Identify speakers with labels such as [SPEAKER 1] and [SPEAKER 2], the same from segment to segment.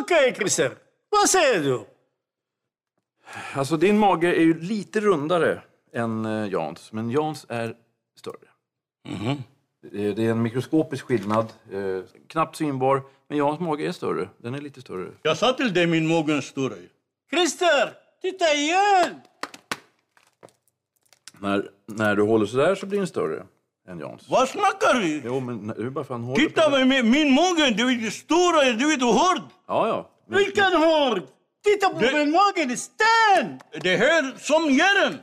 [SPEAKER 1] Okej, Christer. Vad säger du?
[SPEAKER 2] Alltså din mage är ju lite rundare än eh, Jans, men Jans är större. Eh, Det är en mikroskopisk skillnad, eh, knappt synbar, men Jans mage är större. Den är lite större.
[SPEAKER 3] Jag sa till dig min mage är större.
[SPEAKER 1] Christer, titta igen!
[SPEAKER 2] När, när du håller sådär så blir den större än Jans.
[SPEAKER 3] Vad snackar du?
[SPEAKER 2] Jo, men när- hur bara fan håller på
[SPEAKER 3] Titta
[SPEAKER 2] den-
[SPEAKER 3] vad min, min mage, du vet stora, du vet hur hård.
[SPEAKER 2] Ja, ja. Men-
[SPEAKER 1] Vilken hård! Titta på
[SPEAKER 3] Du-
[SPEAKER 1] min mage, Sten!
[SPEAKER 3] Det här som järn.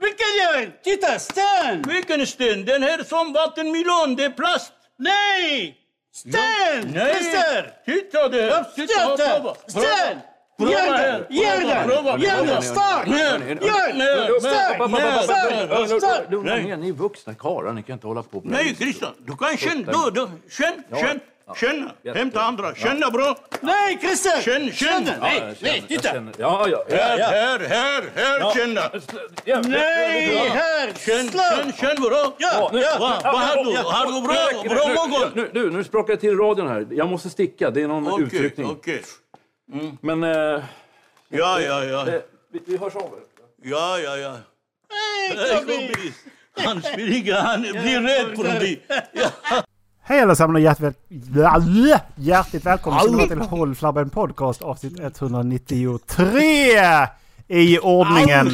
[SPEAKER 1] Vilken gör? Titta, Sten!
[SPEAKER 3] Vilken sten? Den här som vattenmelon, det är plast.
[SPEAKER 1] Nej! Sten! Christer!
[SPEAKER 3] Titta där!
[SPEAKER 1] Stöt den! Sten! Gör det! Gör det! Gör det! Stark! Gör!
[SPEAKER 3] Nej,
[SPEAKER 1] Stark!
[SPEAKER 2] Men- men-
[SPEAKER 1] Stark!
[SPEAKER 2] men- men-
[SPEAKER 1] Stark!
[SPEAKER 2] Lugna ner, ni är vuxna karlar, ni kan inte hålla på. på det här
[SPEAKER 3] Nej,
[SPEAKER 2] viset.
[SPEAKER 3] Christian, du kan känna. Du, du, känn, känn, känna. Hämta andra. Känna bra.
[SPEAKER 1] Nej, Christer!
[SPEAKER 3] Känn, känn.
[SPEAKER 2] Ja,
[SPEAKER 1] Nej,
[SPEAKER 2] jag känner-
[SPEAKER 1] nej,
[SPEAKER 2] jag
[SPEAKER 1] titta!
[SPEAKER 2] känner- Ja, ja. ja.
[SPEAKER 3] Här, här, här, här, känna.
[SPEAKER 2] Ja,
[SPEAKER 1] Nej, här!
[SPEAKER 3] Känn, känn,
[SPEAKER 1] Slag!
[SPEAKER 3] känn bra.
[SPEAKER 1] Ja,
[SPEAKER 3] Vad
[SPEAKER 1] ja!
[SPEAKER 3] vad har du? Har du bra,
[SPEAKER 2] Nu-
[SPEAKER 3] bra
[SPEAKER 2] nu-
[SPEAKER 3] morgon?
[SPEAKER 2] Nu, nu, nu sprakar jag till radion här. Jag måste sticka, det är någon
[SPEAKER 3] Okej,
[SPEAKER 2] utryckning.
[SPEAKER 3] okej.
[SPEAKER 2] Men eh,
[SPEAKER 3] Ja, ja, ja.
[SPEAKER 2] eh, vi, vi hörs av.
[SPEAKER 3] Ja, ja, ja.
[SPEAKER 1] Nej,
[SPEAKER 3] Hej,
[SPEAKER 1] Tobi!
[SPEAKER 3] kompis. Han springer, han blir rädd på dig.
[SPEAKER 4] Hej allesammans och hjärtväl... hjärtligt välkomna ska ni vara till Håll Flabben Podcast avsnitt 193 i ordningen.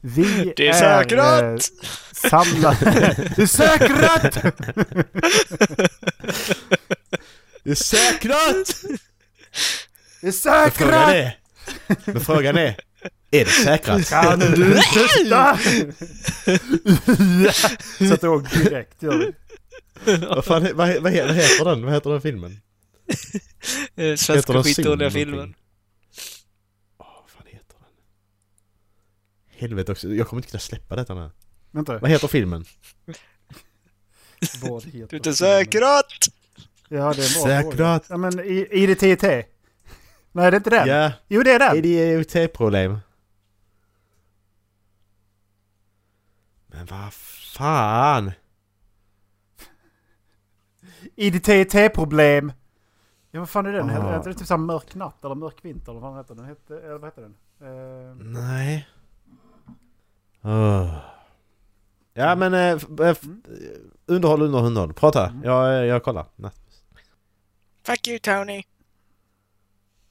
[SPEAKER 4] Vi
[SPEAKER 5] Det är säkrat.
[SPEAKER 4] eh, samlade... Det är säkrat!
[SPEAKER 5] Det är säkrat!
[SPEAKER 4] Det är
[SPEAKER 5] Men frågan
[SPEAKER 4] säkrat!
[SPEAKER 5] är... Men frågan är... Är det säkrat?
[SPEAKER 4] Kan du sluta? Sätter igång direkt gör vi.
[SPEAKER 5] Vad, fan, he- vad, he- vad, he- vad heter den? Vad heter den filmen?
[SPEAKER 6] Eh,
[SPEAKER 5] Heter den
[SPEAKER 6] Svenska skitdåliga
[SPEAKER 5] Synd eller
[SPEAKER 6] filmen.
[SPEAKER 5] någonting? Åh, vad fan heter den? Helvete också, jag kommer inte kunna släppa detta nu.
[SPEAKER 4] Vänta.
[SPEAKER 5] Vad heter filmen?
[SPEAKER 4] Vad heter
[SPEAKER 6] Du är inte säkrat!
[SPEAKER 4] Ja det är en bra fråga.
[SPEAKER 5] Säkrat!
[SPEAKER 4] Ja men i- IDTT. Nej det är inte den.
[SPEAKER 5] Ja, E
[SPEAKER 4] Jo det är den.
[SPEAKER 5] idiot-problem. Men vad fan!
[SPEAKER 4] IDTT-problem. Ja, vad fan är den?
[SPEAKER 5] Ah.
[SPEAKER 4] Hette det typ såhär mörk natt eller mörk vinter eller vad fan hette den? Hette, eller vad hette den? Eh,
[SPEAKER 5] Nej. Åh. Ja men... Eh, f- eh, f- eh, underhåll, underhåll, underhåll. Prata. Jag, eh, jag kollar. Nej.
[SPEAKER 6] Fuck you Tony!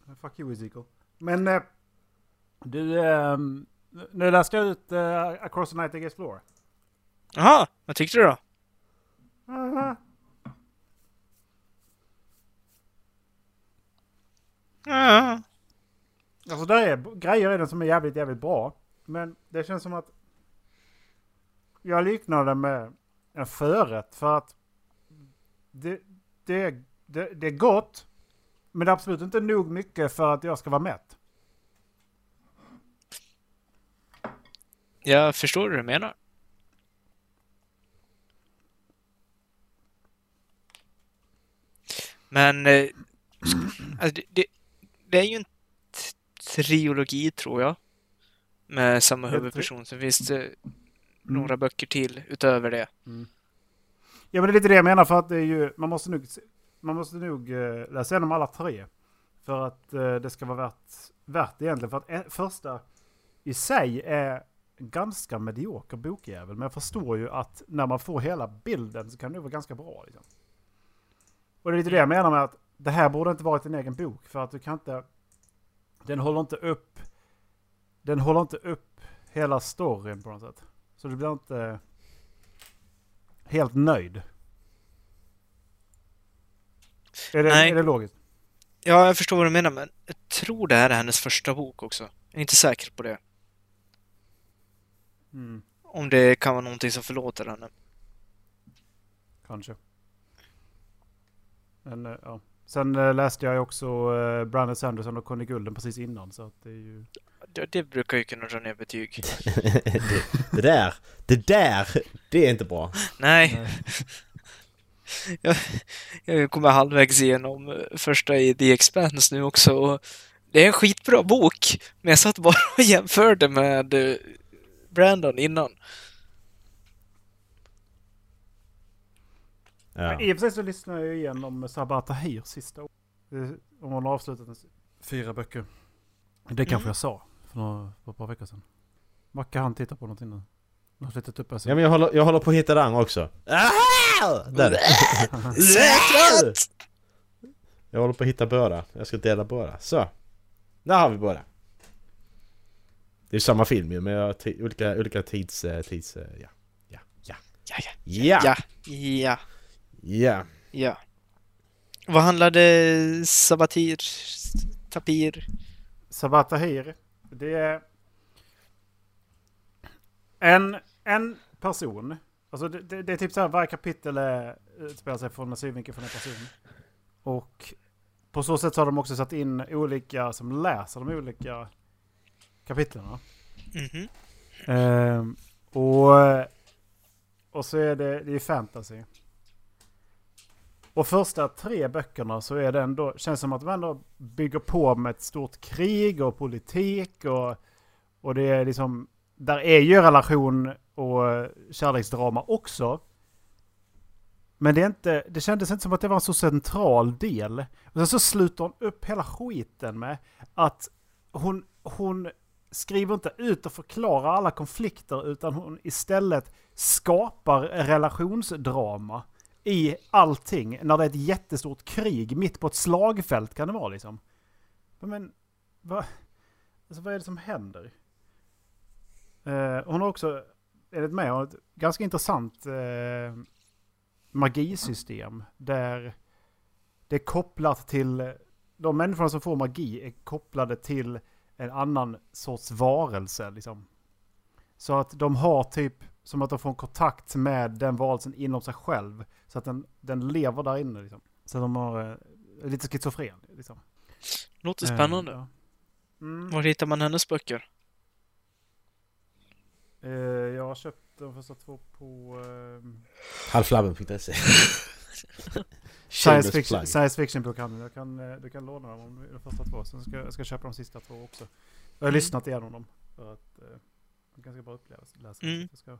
[SPEAKER 4] Eh, fuck you Ezekiel. Men eh, du, eh, nu läste jag ut eh, Across the Night I Explore.
[SPEAKER 6] Jaha, vad tyckte du då? Ja,
[SPEAKER 4] Alltså där är b- grejer i den som är jävligt, jävligt bra. Men det känns som att jag liknar den med en förrätt för att det, det, är- det, det är gott. Men det är absolut inte nog mycket för att jag ska vara mätt.
[SPEAKER 6] jag förstår hur du menar. Men... eh, Alltså, det, det, det är ju en t- trilogi, tror jag. Med samma
[SPEAKER 4] Jag tror-
[SPEAKER 6] huvudperson. Sen finns det några böcker till utöver det.
[SPEAKER 4] Ja men det är lite det jag menar för att det är ju, man måste nog, se- man måste nog eh, läsa igenom alla tre. För att eh, det ska vara värt, värt egentligen. För att eh, första i sig är en ganska medioker bokjävel. Men jag förstår ju att när man får hela bilden så kan det vara ganska bra. Liksom. Och det är lite det jag menar med att det här borde inte varit en egen bok. För att du kan inte, den håller inte upp, den håller inte upp hela storyn på något sätt. Så du blir inte helt nöjd. Är det,
[SPEAKER 6] Nej.
[SPEAKER 4] Är det logiskt?
[SPEAKER 6] Ja, jag förstår vad du menar, men jag tror det här är hennes första bok också. Jag är inte säker på det.
[SPEAKER 4] Mm,
[SPEAKER 6] Om det kan vara någonting som förlåter henne.
[SPEAKER 4] kanske. Men, eh, ja. Sen eh, läste jag ju också eh, Brandon Sanderson och Conny Gulden precis innan. Så att det är ju...
[SPEAKER 6] Det, det brukar ju kunna dra ner betyg.
[SPEAKER 5] det, det där, det där, det är inte bra.
[SPEAKER 6] Nej. Jag, jag kommer halvvägs igenom eh, första i The Expanse nu också och det är en skitbra bok, men jag satt bara och jämförde med eh, Brandon innan.
[SPEAKER 5] Ja.
[SPEAKER 4] I och för sig så lyssnade jag ju igenom Sabah Tahir sista året. Eh, Om hon har avslutat en, Fyra böcker. Det kanske jag sa för, några, för ett par veckor sedan. Macke han tittar på någonting nu. Han har flyttat upp här.
[SPEAKER 5] Ja men jag håller, jag håller på att hitta den också. Ah! Där! Säkert! Jag håller på att hitta båda. Jag ska dela båda. Så! Där har vi båda. Det är ju samma film ju men jag har ti- olika, olika tids... eh, tids eh, ja. Ja. Ja.
[SPEAKER 6] Ja, ja,
[SPEAKER 5] Ja!
[SPEAKER 6] ja, ja,
[SPEAKER 5] Ja!
[SPEAKER 6] ja. Vad handlade Sabatir, Tapir?
[SPEAKER 4] Sabatahir. Det är en, en person. Alltså det, det, det är typ så här varje kapitel är- utspelar sig från en synvinkel från en person. Och på så sätt så har de också satt in olika som läser de olika kapitlen. va?
[SPEAKER 6] Mhm.
[SPEAKER 4] Ehm, och, och så är det, det är fantasy. Och första tre böckerna så är det ändå, känns som att man ändå bygger på med ett stort krig och politik och, och det är liksom, där är ju relation och kärleksdrama också. Men det, är inte, det kändes inte som att det var en så central del. Och sen så slutar hon upp hela skiten med att hon, hon skriver inte ut och förklarar alla konflikter utan hon istället skapar relationsdrama i allting när det är ett jättestort krig mitt på ett slagfält kan det vara liksom. Men vad, alltså, vad är det som händer? Eh, hon har också, enligt mig, har ett ganska intressant eh, magisystem där det är kopplat till, de människorna som får magi är kopplade till en annan sorts varelse liksom. Så att de har typ som att de får en kontakt med den varelsen inom sig själv. Så att den, den lever där inne liksom. Så att de har eh, lite schizofren liksom.
[SPEAKER 6] Låter spännande.
[SPEAKER 4] Eh, ja. Mm.
[SPEAKER 6] Var hittar man hennes böcker?
[SPEAKER 4] Eh, jag har köpt de första två på eh,
[SPEAKER 5] Halflabben.se
[SPEAKER 4] science,
[SPEAKER 5] Shameless
[SPEAKER 4] fiction,
[SPEAKER 5] plug.
[SPEAKER 4] science fiction bokhandeln. Jag kan, eh, du kan låna dem om de första två. Sen ska jag ska jag köpa de sista två också. Jag har
[SPEAKER 6] Mm.
[SPEAKER 4] lyssnat igenom dem. För att, eh, de är ganska bra upplevelse. läsa.
[SPEAKER 6] Mm.
[SPEAKER 4] Jag ska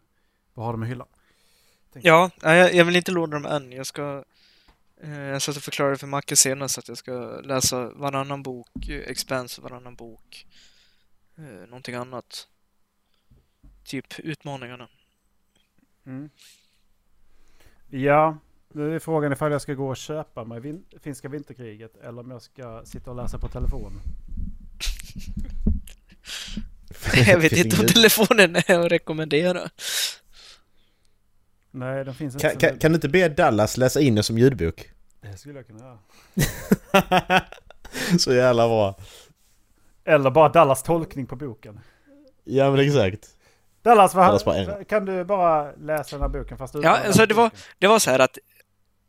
[SPEAKER 4] bara ha dem i hyllan.
[SPEAKER 6] Ja, nej, jag, jag vill inte låna dem än. Jag ska... Eh, jag satt och förklarade för Macke senast att jag ska läsa varannan bok, eh, Expanse, varannan bok, eh, någonting annat. Typ utmaningarna.
[SPEAKER 4] Mm. Ja, nu är frågan ifall jag ska gå och köpa mig vin- finska vinterkriget eller om jag ska sitta och läsa på telefon.
[SPEAKER 6] Jag vet
[SPEAKER 4] Typ
[SPEAKER 6] inte om telefonen är att rekommendera.
[SPEAKER 4] Nej, den finns inte.
[SPEAKER 5] kan, kan, kan du inte be Dallas läsa in det som ljudbok?
[SPEAKER 4] Det skulle jag kunna göra.
[SPEAKER 5] Så jävla bra!
[SPEAKER 4] Eller bara Dallas tolkning på boken.
[SPEAKER 5] Ja men exakt!
[SPEAKER 4] Dallas, vad,
[SPEAKER 5] Dallas bara en.
[SPEAKER 4] kan du bara läsa den här boken fast utan
[SPEAKER 6] Ja,
[SPEAKER 4] att
[SPEAKER 6] alltså
[SPEAKER 4] läsa
[SPEAKER 6] det var,
[SPEAKER 4] boken?
[SPEAKER 6] det var så här att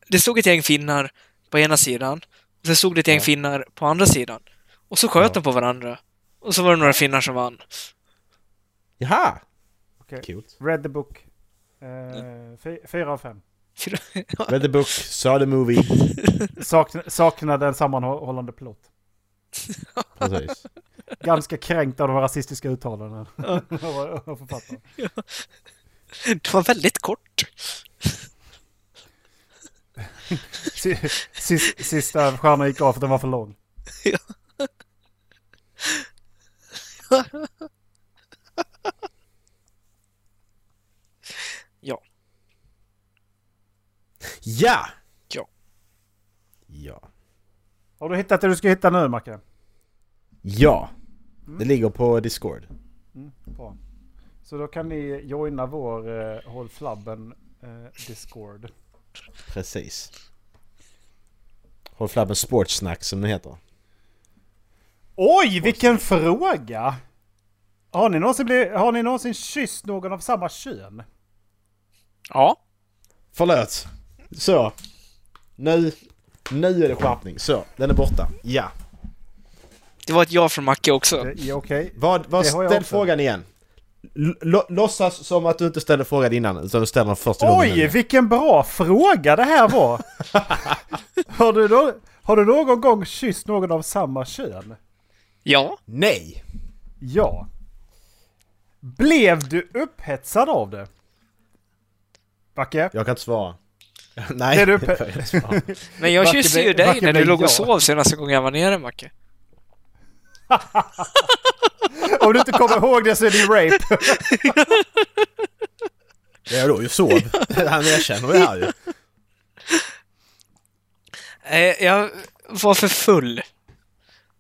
[SPEAKER 6] det stod ett gäng finnar på ena sidan, och sen stod det ett gäng finnar på andra sidan. Och så sköt de på varandra. Och så var det några finnar som vann.
[SPEAKER 5] Jaha!
[SPEAKER 4] Okej.
[SPEAKER 5] Coolt!
[SPEAKER 4] Read the book. Eh,
[SPEAKER 6] Mm.
[SPEAKER 4] fy- Fyra av fem.
[SPEAKER 6] Fyra-
[SPEAKER 5] Read the book, saw the movie.
[SPEAKER 4] Sakna, saknade en sammanhållande plott.
[SPEAKER 5] Precis.
[SPEAKER 4] Ganska kränkt av de rasistiska uttalandena. av författaren.
[SPEAKER 6] Det var väldigt kort.
[SPEAKER 4] Si- sis- Sista stjärnan gick av för att den var för lång.
[SPEAKER 5] Ja!
[SPEAKER 6] Ja.
[SPEAKER 5] Ja.
[SPEAKER 4] Har du hittat det du ska hitta nu, Macke?
[SPEAKER 5] Ja.
[SPEAKER 4] Mm.
[SPEAKER 5] Det ligger på Discord.
[SPEAKER 4] Bra. Så då kan ni joina vår eh, Håll Flabben eh, Discord.
[SPEAKER 5] Precis. Håll flabben sportsnack som det heter.
[SPEAKER 4] Oj, vilken fråga! Har ni, någonsin blivit, har ni någonsin kysst någon av samma kön?
[SPEAKER 6] Ja.
[SPEAKER 5] Förlåt. Så. Nu. Nu är det skärpning. Så. Den är borta. Ja.
[SPEAKER 6] Det var ett ja från Macke också.
[SPEAKER 4] Det är okej.
[SPEAKER 5] Vad, vad
[SPEAKER 4] Det har jag
[SPEAKER 5] ställ
[SPEAKER 4] också.
[SPEAKER 5] frågan igen. L- lo- låtsas som att du inte ställde frågan innan utan du ställer den första gången.
[SPEAKER 4] Oj,
[SPEAKER 5] nu.
[SPEAKER 4] vilken bra fråga det här var! har, du då, har du någon gång kysst någon av samma kön?
[SPEAKER 6] Ja.
[SPEAKER 5] Nej!
[SPEAKER 4] Ja. Blev du upphetsad av det? Backe?
[SPEAKER 5] Jag kan inte svara. Nej.
[SPEAKER 4] Blev du upphe-
[SPEAKER 6] Men jag
[SPEAKER 4] Macke
[SPEAKER 6] kysste ju
[SPEAKER 4] blev-
[SPEAKER 6] dig
[SPEAKER 4] Macke
[SPEAKER 6] när du
[SPEAKER 4] blev
[SPEAKER 6] låg
[SPEAKER 4] ja.
[SPEAKER 6] och sov senaste gången jag var nere, Macke.
[SPEAKER 4] Om du inte kommer ihåg det så är det ju rape.
[SPEAKER 5] Jag låg ju och sov. Han erkänner det här ju.
[SPEAKER 6] Nej, Eh, Jag var för full.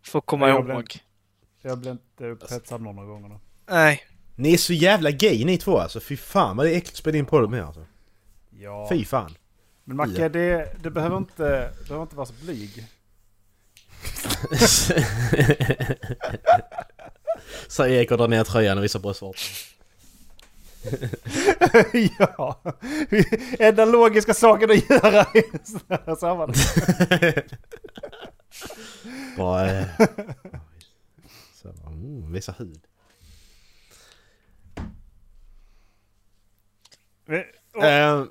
[SPEAKER 6] För att komma
[SPEAKER 4] Jag blev-
[SPEAKER 6] ihåg.
[SPEAKER 4] Jag blev inte upphetsad någon av gångerna.
[SPEAKER 6] Nej.
[SPEAKER 5] Ni är så jävla gay ni två alltså. Fy fan vad det är äckligt att spela in podd med alltså.
[SPEAKER 4] Ja.
[SPEAKER 5] Fy fan.
[SPEAKER 4] Men Macke, det, det behöver inte, du behöver inte vara så blyg.
[SPEAKER 5] Säger Erik och drar ner tröjan och visar bröstvårtan.
[SPEAKER 4] ja. Enda logiska saken att göra i sådana här sammanhang.
[SPEAKER 5] Bara... eh, Så, bara, mm, visa hud.
[SPEAKER 4] Men, och
[SPEAKER 5] Eh,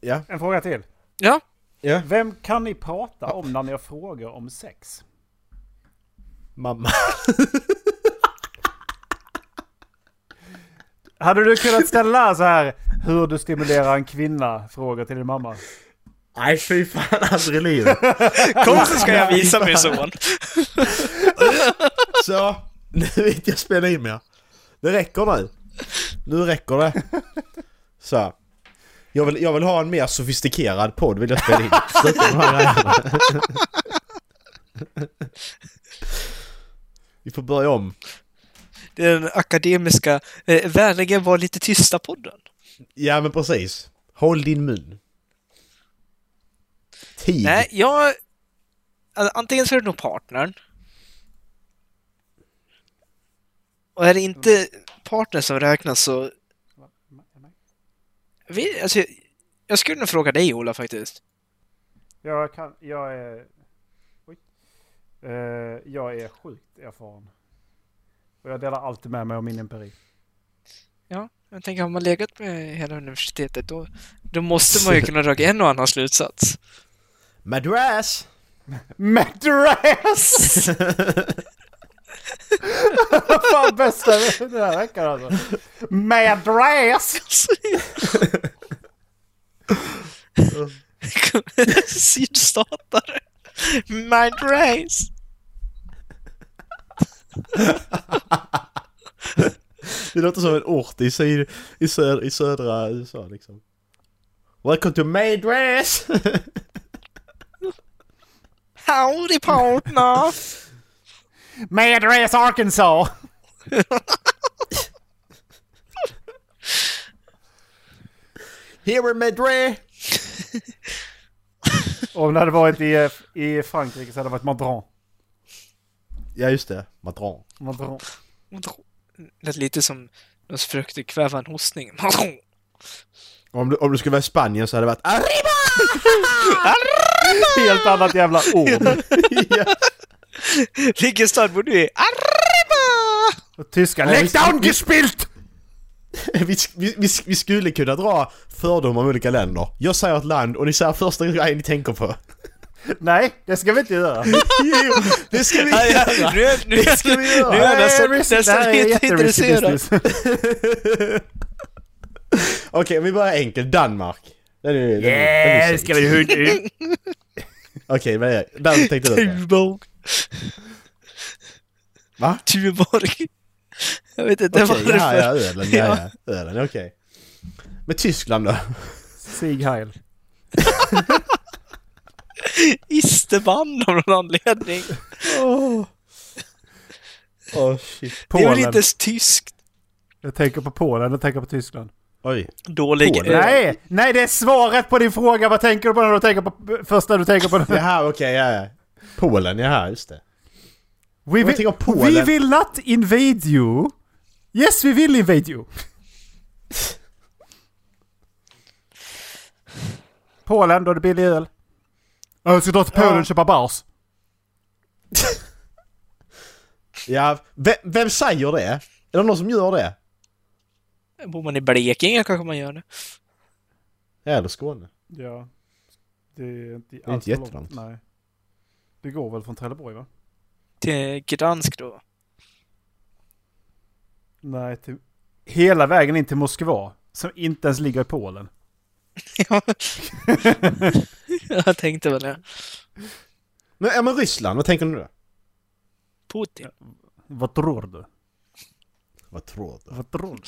[SPEAKER 5] ja,
[SPEAKER 4] En fråga till.
[SPEAKER 6] Ja.
[SPEAKER 5] ja.
[SPEAKER 4] Vem kan ni prata om när ni har frågor om sex?
[SPEAKER 5] Mamma.
[SPEAKER 4] Hade du kunnat ställa så här hur du stimulerar en kvinna frågor till din mamma?
[SPEAKER 5] Nej fy fan aldrig i livet.
[SPEAKER 6] Kom så ska jag visa min son.
[SPEAKER 5] Så, nu vet jag spela in mer. Det räcker nu. Nu räcker det. Så. Jag vill, jag vill ha en mer sofistikerad podd vill jag spela in. Sluta med de här grejerna. Vi får börja om.
[SPEAKER 6] Det är den akademiska eh, Vänligen var lite tysta-podden.
[SPEAKER 5] Ja men precis. Håll din mun. Tid.
[SPEAKER 6] Nej, jag... alltså, Antingen så är det nog partnern. Och är det inte partnern som räknas så... Vi, alltså, jag skulle nog fråga dig, Ola, faktiskt.
[SPEAKER 4] Jag kan, jag är... Oj. Eh, jag är sjukt erfaren. Och jag delar alltid med mig av min empiri.
[SPEAKER 6] Ja, jag tänker har man legat med hela universitetet då, då måste man ju kunna dra en och annan slutsats.
[SPEAKER 5] Madras!
[SPEAKER 4] Madras! Fan bästa den här veckan alltså. Madras!
[SPEAKER 6] Sydstatare. Mind race.
[SPEAKER 5] Det låter som en ort i, syd, i, sö, i södra USA liksom. Welcome to Madras!
[SPEAKER 6] Howdy partner!
[SPEAKER 4] Madras Arkansas!
[SPEAKER 5] Here in Madras!
[SPEAKER 4] Om det hade varit i, i Frankrike så hade det varit Madran.
[SPEAKER 5] Ja just det, Madron.
[SPEAKER 4] Madran.
[SPEAKER 6] Lät lite som de som försökte kväva en hostning.
[SPEAKER 5] Om du, om du skulle vara i Spanien så hade det varit Arriba!
[SPEAKER 4] Helt annat jävla ord.
[SPEAKER 5] ja.
[SPEAKER 6] Vilken stad bor du i? Arriba!
[SPEAKER 4] Och liksom- tyska.
[SPEAKER 5] Ja,
[SPEAKER 4] Lägg
[SPEAKER 5] visst.
[SPEAKER 4] down gespielt!
[SPEAKER 5] vi, vi, vi, vi skulle kunna dra fördomar om olika länder. Jag säger ett land och ni säger första grejen ni tänker på.
[SPEAKER 4] Nej, det ska vi inte göra.
[SPEAKER 5] Jo, det ska vi
[SPEAKER 6] Ja,
[SPEAKER 5] göra!
[SPEAKER 6] ja, nu är- nu
[SPEAKER 5] Det ska vi göra.
[SPEAKER 6] är-
[SPEAKER 4] Det här
[SPEAKER 6] nu är jag
[SPEAKER 4] är risk-
[SPEAKER 6] nästan-
[SPEAKER 4] det här
[SPEAKER 6] nästan
[SPEAKER 4] är
[SPEAKER 6] inte
[SPEAKER 4] jätterisky
[SPEAKER 6] intresserad.
[SPEAKER 4] business.
[SPEAKER 5] Okej, vi börjar enkelt. Danmark. Den är, den är, den är
[SPEAKER 4] Yeah,
[SPEAKER 5] safe.
[SPEAKER 4] ska vi höra
[SPEAKER 5] Okej, vad är Danmark tänkte du på?
[SPEAKER 6] Tuborg.
[SPEAKER 5] Va?
[SPEAKER 6] Tuborg. Typ Jag vet inte
[SPEAKER 5] Okej,
[SPEAKER 6] varför.
[SPEAKER 5] ja, ja, ölen, ja, ja, ölen, okej. Men Tyskland då?
[SPEAKER 4] Sieg Heil.
[SPEAKER 6] Isterband av någon anledning.
[SPEAKER 5] Åh, oh, shit.
[SPEAKER 6] Det är väl
[SPEAKER 4] Polen.
[SPEAKER 6] inte ens tyskt?
[SPEAKER 4] Jag tänker på Polen, jag tänker på Tyskland.
[SPEAKER 5] Oj.
[SPEAKER 6] Dålig eh,
[SPEAKER 5] Polen.
[SPEAKER 6] öl.
[SPEAKER 4] Nej, nej det är svaret på din fråga. Vad tänker du på när du tänker på första du tänker på? när-
[SPEAKER 5] Jaha, okej, ja, ja. Polen, jaha, just det.
[SPEAKER 4] We
[SPEAKER 5] tänker på Polen.
[SPEAKER 4] we will not invade you. Yes, we will invade you. Polen, då är det billig öl. Ja, Jag ska dra till Polen och köpa bars.
[SPEAKER 5] Ja, vem, vem säger det? Är det någon som gör det?
[SPEAKER 6] Bor man i Blekinge kanske man gör det.
[SPEAKER 5] Ja, Eller Skåne?
[SPEAKER 4] Ja. Det är inte,
[SPEAKER 5] är alls inte för långt. jättelångt.
[SPEAKER 4] Nej. Det går väl från Trelleborg va?
[SPEAKER 6] Till Gdansk då.
[SPEAKER 4] Nej, till... Hela vägen in till Moskva. Som inte ens ligger i Polen.
[SPEAKER 6] Ja. jag tänkte väl det.
[SPEAKER 5] Men, ja, men Ryssland, vad tänker du då?
[SPEAKER 6] Putin.
[SPEAKER 4] Vad tror du?
[SPEAKER 5] Vad tror du?
[SPEAKER 4] Vad tror du?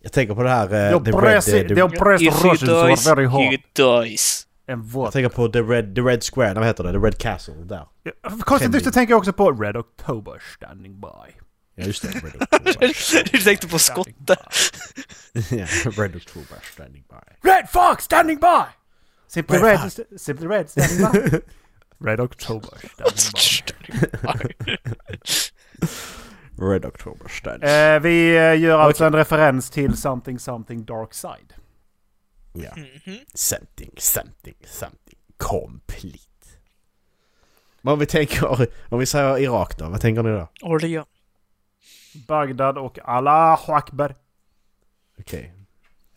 [SPEAKER 5] Jag tänker på det här... eh,
[SPEAKER 4] Jag
[SPEAKER 5] the
[SPEAKER 4] press-
[SPEAKER 5] Red, eh, the,
[SPEAKER 4] jag press Russians were very
[SPEAKER 6] you
[SPEAKER 4] hard.
[SPEAKER 6] dies.
[SPEAKER 4] En
[SPEAKER 5] jag
[SPEAKER 4] våt.
[SPEAKER 5] tänker på the red, the red Square, nej, vad heter det? The Red Castle, där.
[SPEAKER 4] Ja, Konstigt nog så tänker jag också på Red October standing by.
[SPEAKER 5] Ja just det, Red October.
[SPEAKER 6] du tänkte på skotten.
[SPEAKER 5] ja, Red October standing by.
[SPEAKER 4] Red Fox standing by! Simply
[SPEAKER 5] Red
[SPEAKER 4] Red,
[SPEAKER 5] Fox.
[SPEAKER 4] Simply Red standing by. Red October standing by.
[SPEAKER 5] Red October standing
[SPEAKER 4] Eh, vi eh, gör alltså en referens till Something Something Dark Side.
[SPEAKER 5] Ja.
[SPEAKER 6] Mhm.
[SPEAKER 5] Something, something, something complete. Men om vi tänker, om vi säger Irak då, vad tänker ni då?
[SPEAKER 6] Orlean.
[SPEAKER 4] Bagdad och Allahu Akbar.
[SPEAKER 5] Okej.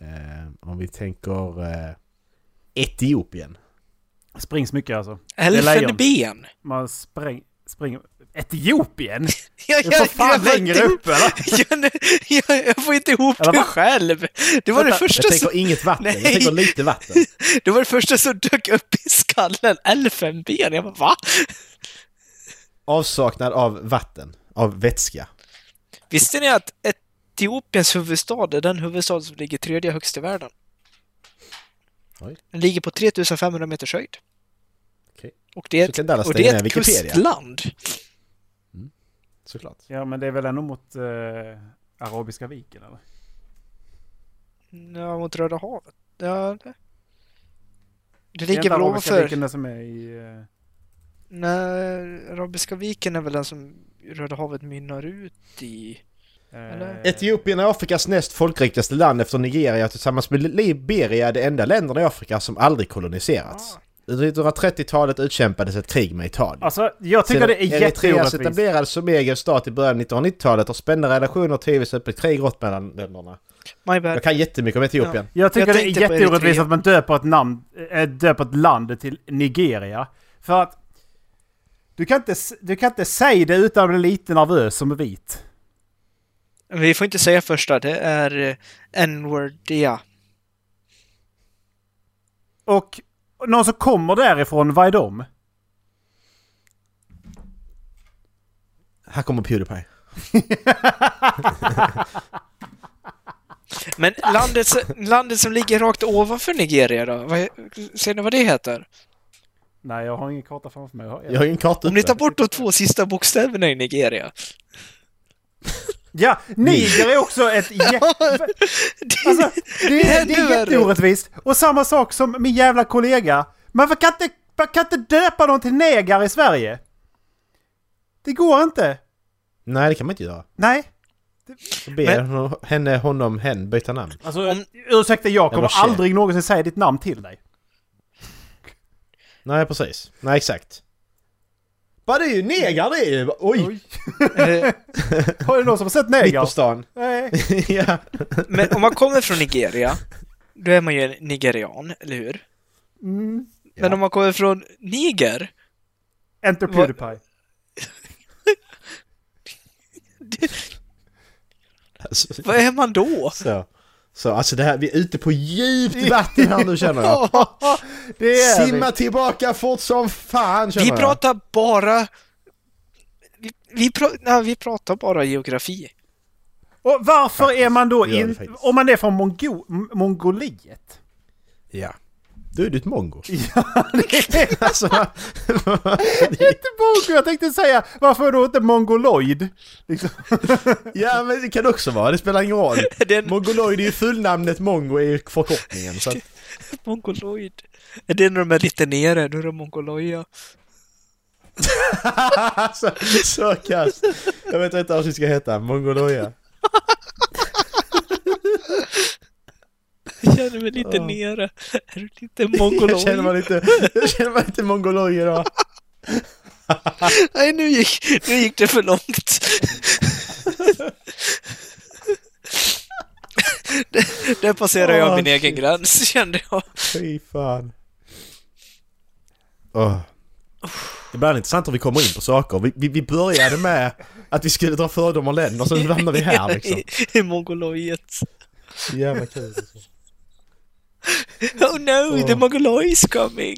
[SPEAKER 5] Eh, om vi tänker eh, Etiopien.
[SPEAKER 4] Springs mycket alltså.
[SPEAKER 6] Elfenben.
[SPEAKER 4] Man spräng, springer... Etiopien?
[SPEAKER 6] Jag,
[SPEAKER 4] Det är för fan
[SPEAKER 6] får
[SPEAKER 4] längre
[SPEAKER 6] inte-
[SPEAKER 4] upp eller?
[SPEAKER 6] jag, jag, jag får inte ihop
[SPEAKER 4] Eller
[SPEAKER 6] det
[SPEAKER 4] va?
[SPEAKER 6] själv. Det var det, första
[SPEAKER 5] Jag
[SPEAKER 6] som,
[SPEAKER 5] tänker inget vatten,
[SPEAKER 6] Nej.
[SPEAKER 5] jag tänker lite vatten.
[SPEAKER 6] det var det första som dök upp i skallen. Elfenben. Jag bara, va?
[SPEAKER 5] Avsaknad av vatten, av vätska.
[SPEAKER 6] Visste ni att Etiopiens huvudstad är den huvudstad som ligger tredje högst i världen?
[SPEAKER 5] Oj.
[SPEAKER 6] Den ligger på 3500 meters höjd.
[SPEAKER 5] Okej.
[SPEAKER 6] Och det är
[SPEAKER 5] Så kan Dallas
[SPEAKER 6] ett, och det
[SPEAKER 5] stänga
[SPEAKER 6] är
[SPEAKER 5] ner
[SPEAKER 6] ett
[SPEAKER 5] Wikipedia.
[SPEAKER 6] kustland.
[SPEAKER 5] Såklart.
[SPEAKER 4] Ja men det är väl ändå mot eh, Arabiska viken eller?
[SPEAKER 6] Ja, mot Röda havet. Ja, det. det
[SPEAKER 4] Det är
[SPEAKER 6] ligger
[SPEAKER 4] inte
[SPEAKER 6] väl
[SPEAKER 4] Arabiska
[SPEAKER 6] ovanför...
[SPEAKER 4] viken det som är i... Eh,
[SPEAKER 6] Nej, Arabiska viken är väl den som Röda havet mynnar ut i. Eller?
[SPEAKER 4] eh,
[SPEAKER 5] Etiopien är Afrikas näst folkrikaste land efter Nigeria tillsammans med Liberia det enda länderna i Afrika som aldrig koloniserats. Under 1930-talet utkämpades ett krig med Italien.
[SPEAKER 4] Alltså jag tycker det är
[SPEAKER 5] Eritreas
[SPEAKER 4] jätteorättvist.
[SPEAKER 5] etablerades som egen stat i början av 1990-talet har spända relationer och tidvis öppet krig rått mellan länderna.
[SPEAKER 6] My bad.
[SPEAKER 5] Jag kan jättemycket om Etiopien.
[SPEAKER 4] Jag tycker
[SPEAKER 6] Jag
[SPEAKER 4] det är
[SPEAKER 6] tänkte på
[SPEAKER 4] jätteorättvist
[SPEAKER 6] Eritrea.
[SPEAKER 4] att man döper ett, namn, äh, döper ett land till Nigeria. För att du kan inte, s- du kan inte säga det utan att bli lite nervös som är vit.
[SPEAKER 6] Vi får inte säga första, det är eh, N-wordia.
[SPEAKER 4] Och någon som kommer därifrån, vad är de?
[SPEAKER 5] Här kommer Pewdiepie.
[SPEAKER 6] Men landet, som- landet som ligger rakt ovanför Nigeria då? Vad, ser ni vad det heter?
[SPEAKER 4] Nej, jag har ingen karta framför mig. Jag har en.
[SPEAKER 5] Jag har ju en karta
[SPEAKER 6] Om ni tar
[SPEAKER 5] uppe.
[SPEAKER 6] bort de två sista bokstäverna i Nigeria.
[SPEAKER 4] Ja, Niger är också ett jä...
[SPEAKER 6] Det-
[SPEAKER 4] Alltså, det är, det
[SPEAKER 6] ännu
[SPEAKER 4] är
[SPEAKER 6] värre.
[SPEAKER 4] jätteorättvist. Och samma sak som min jävla kollega. Men varför kan inte, man kan inte döpa någon till negar i Sverige? Det går inte.
[SPEAKER 5] Nej, det kan man inte göra.
[SPEAKER 4] Nej.
[SPEAKER 5] Så ber
[SPEAKER 6] Men-
[SPEAKER 5] hon- henne, honom, hen byta namn.
[SPEAKER 4] Alltså,
[SPEAKER 5] Mm.
[SPEAKER 4] ursäkta, jag
[SPEAKER 5] Jävla
[SPEAKER 4] kommer
[SPEAKER 5] tjej.
[SPEAKER 4] aldrig någonsin säga ditt namn till dig.
[SPEAKER 5] Nej, precis. Nej, exakt. Vad det är ju negar det är ju! Oj!
[SPEAKER 6] Eh,
[SPEAKER 4] Har du någon som har sett
[SPEAKER 5] Mitt på
[SPEAKER 4] neger?
[SPEAKER 5] stan.
[SPEAKER 4] Nej.
[SPEAKER 5] ja.
[SPEAKER 6] Men om man kommer från Nigeria, då är man ju en nigerian, eller hur?
[SPEAKER 4] Mm.
[SPEAKER 6] Men
[SPEAKER 5] Ja.
[SPEAKER 6] om man kommer från Niger,
[SPEAKER 4] Enter
[SPEAKER 6] Vad-
[SPEAKER 4] Pewdiepie.
[SPEAKER 5] Alltså,
[SPEAKER 6] vad är man då?
[SPEAKER 5] Så. Så alltså det här, vi är ute på djupt vatten här nu känner jag.
[SPEAKER 4] Det är vi.
[SPEAKER 5] Simma tillbaka fort som fan känner
[SPEAKER 6] Vi
[SPEAKER 5] jag.
[SPEAKER 6] pratar bara... Vi, vi, pra, nej, vi pratar bara geografi.
[SPEAKER 4] Och varför är man då
[SPEAKER 5] Det gör vi
[SPEAKER 4] in...
[SPEAKER 5] faktiskt.
[SPEAKER 4] Om man är från Mongo... M- Mongoliet?
[SPEAKER 5] Ja. Du är du ett mongo.
[SPEAKER 4] Det är
[SPEAKER 5] Alltså,
[SPEAKER 4] inte mongo! Jag tänkte säga, varför är du inte mongoloid? Liksom.
[SPEAKER 5] ja men det kan det också vara, det spelar ingen roll.
[SPEAKER 6] Det är en
[SPEAKER 5] Mongoloid är ju fullnamnet, mongo är ju förkortningen. Så att,
[SPEAKER 6] mongoloid. Är det när de är lite nere? Då är de mongoloja.
[SPEAKER 5] alltså, så kast. Jag vet inte vad det ska heta, mongoloja.
[SPEAKER 6] Jag känner mig lite nere. Är du lite
[SPEAKER 5] Jag känner
[SPEAKER 6] mongoloid?
[SPEAKER 5] mig lite, jag känner mig lite mongoloid idag.
[SPEAKER 6] Nej, nu gick, nu gick det för långt. Där- Där passerar jag
[SPEAKER 5] Åh,
[SPEAKER 6] min egen
[SPEAKER 5] shit.
[SPEAKER 6] gräns, kände jag.
[SPEAKER 5] Fy fan. Det blir intressant om vi kommer in på saker. Vi, vi, vi började med att vi skulle dra fördomar länder, sen hamnar vi här liksom.
[SPEAKER 6] I, i mongoloiet.
[SPEAKER 5] Så jävla kul. alltså.
[SPEAKER 6] Oh no, the mongoloid is coming!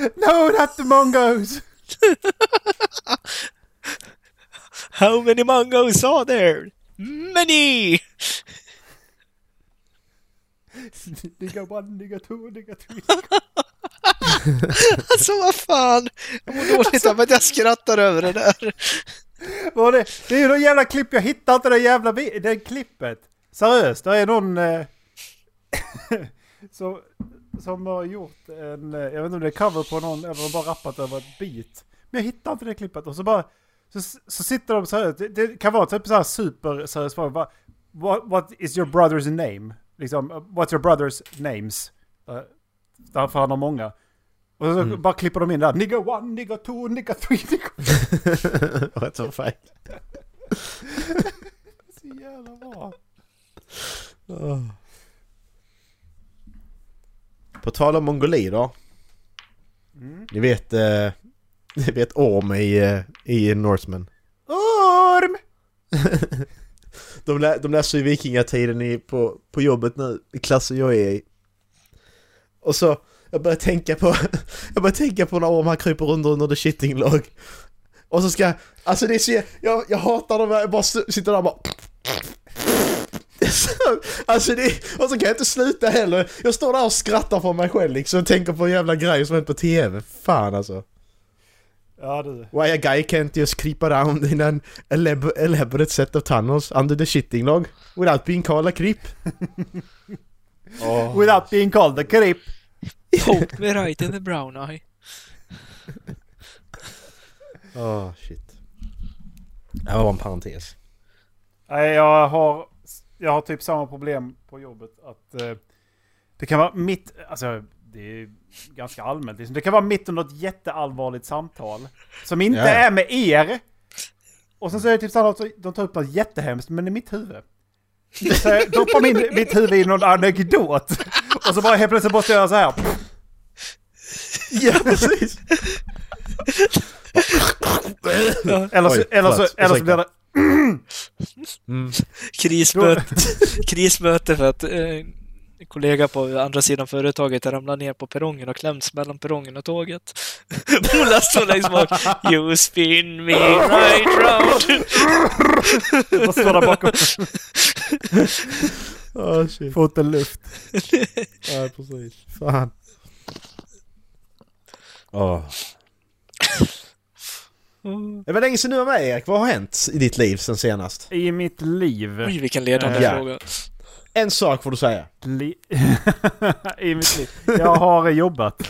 [SPEAKER 4] No, not the mongos!
[SPEAKER 6] How many mangoes are there? Many!
[SPEAKER 4] Nigga one, nigga two, nigga three.
[SPEAKER 6] Alltså vad fan! Jag mår dåligt av att jag skrattar över det där.
[SPEAKER 4] Vad var det? det är ju någon jävla klipp, jag hittar inte det jävla bi- det klippet. Seriöst, det är någon eh, som, som har gjort en, eh, jag vet inte om det är cover på någon eller bara rappat över ett beat. Men jag hittar inte det klippet och så bara, så, så sitter de seriöst, det, det kan vara typ så här superseriöst folk bara, what, what is your brother's name? Liksom, uh, what's your brother's names? Uh, därför han har många. Och så bara klipper de in där, nigga one, nigga two, nigga three, nigga
[SPEAKER 5] What the fuck?
[SPEAKER 4] Så jävla bra.
[SPEAKER 5] På tal om mongolier.
[SPEAKER 4] Mm.
[SPEAKER 5] Ni vet, eh, ni vet orm i, eh, i Norseman.
[SPEAKER 4] Orm!
[SPEAKER 5] De, lä, de läser ju vikingatiden i, på, på jobbet nu, i klassen jag är i. Och så, jag börjar tänka på, jag börjar tänka på när orm han kryper under under the shitting log. Och så ska, alltså det är så, jag, jag hatar de här, jag bara s- sitter där och bara Det är så- Alltså det, och så kan jag inte sluta heller. Jag står där och skrattar för mig själv liksom och tänker på en jävla grej som hänt på TV. Fan alltså.
[SPEAKER 4] Ja du.
[SPEAKER 5] Why a guy can't just creep around in an elab- elaborate set of tunnels under the shitting log without being called a creep?
[SPEAKER 4] Without being called the creep.
[SPEAKER 6] Poked me right in the brown eye.
[SPEAKER 5] Åh Ah, shit. Det var en parentes.
[SPEAKER 4] Nej, jag har, jag har typ samma problem på jobbet. Att eh, Det kan vara mitt, alltså det är ju ganska allmänt. Liksom. Det kan vara mitt under ett jätteallvarligt samtal. Som inte
[SPEAKER 5] Ja, ja.
[SPEAKER 4] är med er. Och sen så är det typ så här att de tar upp något jättehemskt, men i mitt huvud. Så jag doppar min, mitt huvud i någon anekdot. Och så bara helt plötsligt måste jag göra så här.
[SPEAKER 5] Ja precis!
[SPEAKER 4] Eller så, eller så,
[SPEAKER 5] Oj, förlåt.
[SPEAKER 4] eller så
[SPEAKER 5] Ursäkta.
[SPEAKER 4] blir det...
[SPEAKER 6] Krismöte, krismöte för att eh, en kollega på andra sidan företaget ramlar ner på perrongen och kläms mellan perrongen och tåget. Ola står längst bak. You spin me right round.
[SPEAKER 4] Jag står där bakom.
[SPEAKER 5] Åh Ah, shit.
[SPEAKER 4] Får inte luft.
[SPEAKER 5] Ja precis. Fan. Åh. Det var länge sedan du var med Erik. Vad har hänt i ditt liv sen senast?
[SPEAKER 4] I mitt liv.
[SPEAKER 6] Oj, vilken ledande
[SPEAKER 5] Ja.
[SPEAKER 6] fråga.
[SPEAKER 5] En sak får du säga.
[SPEAKER 4] Li- I mitt liv. Jag har jobbat.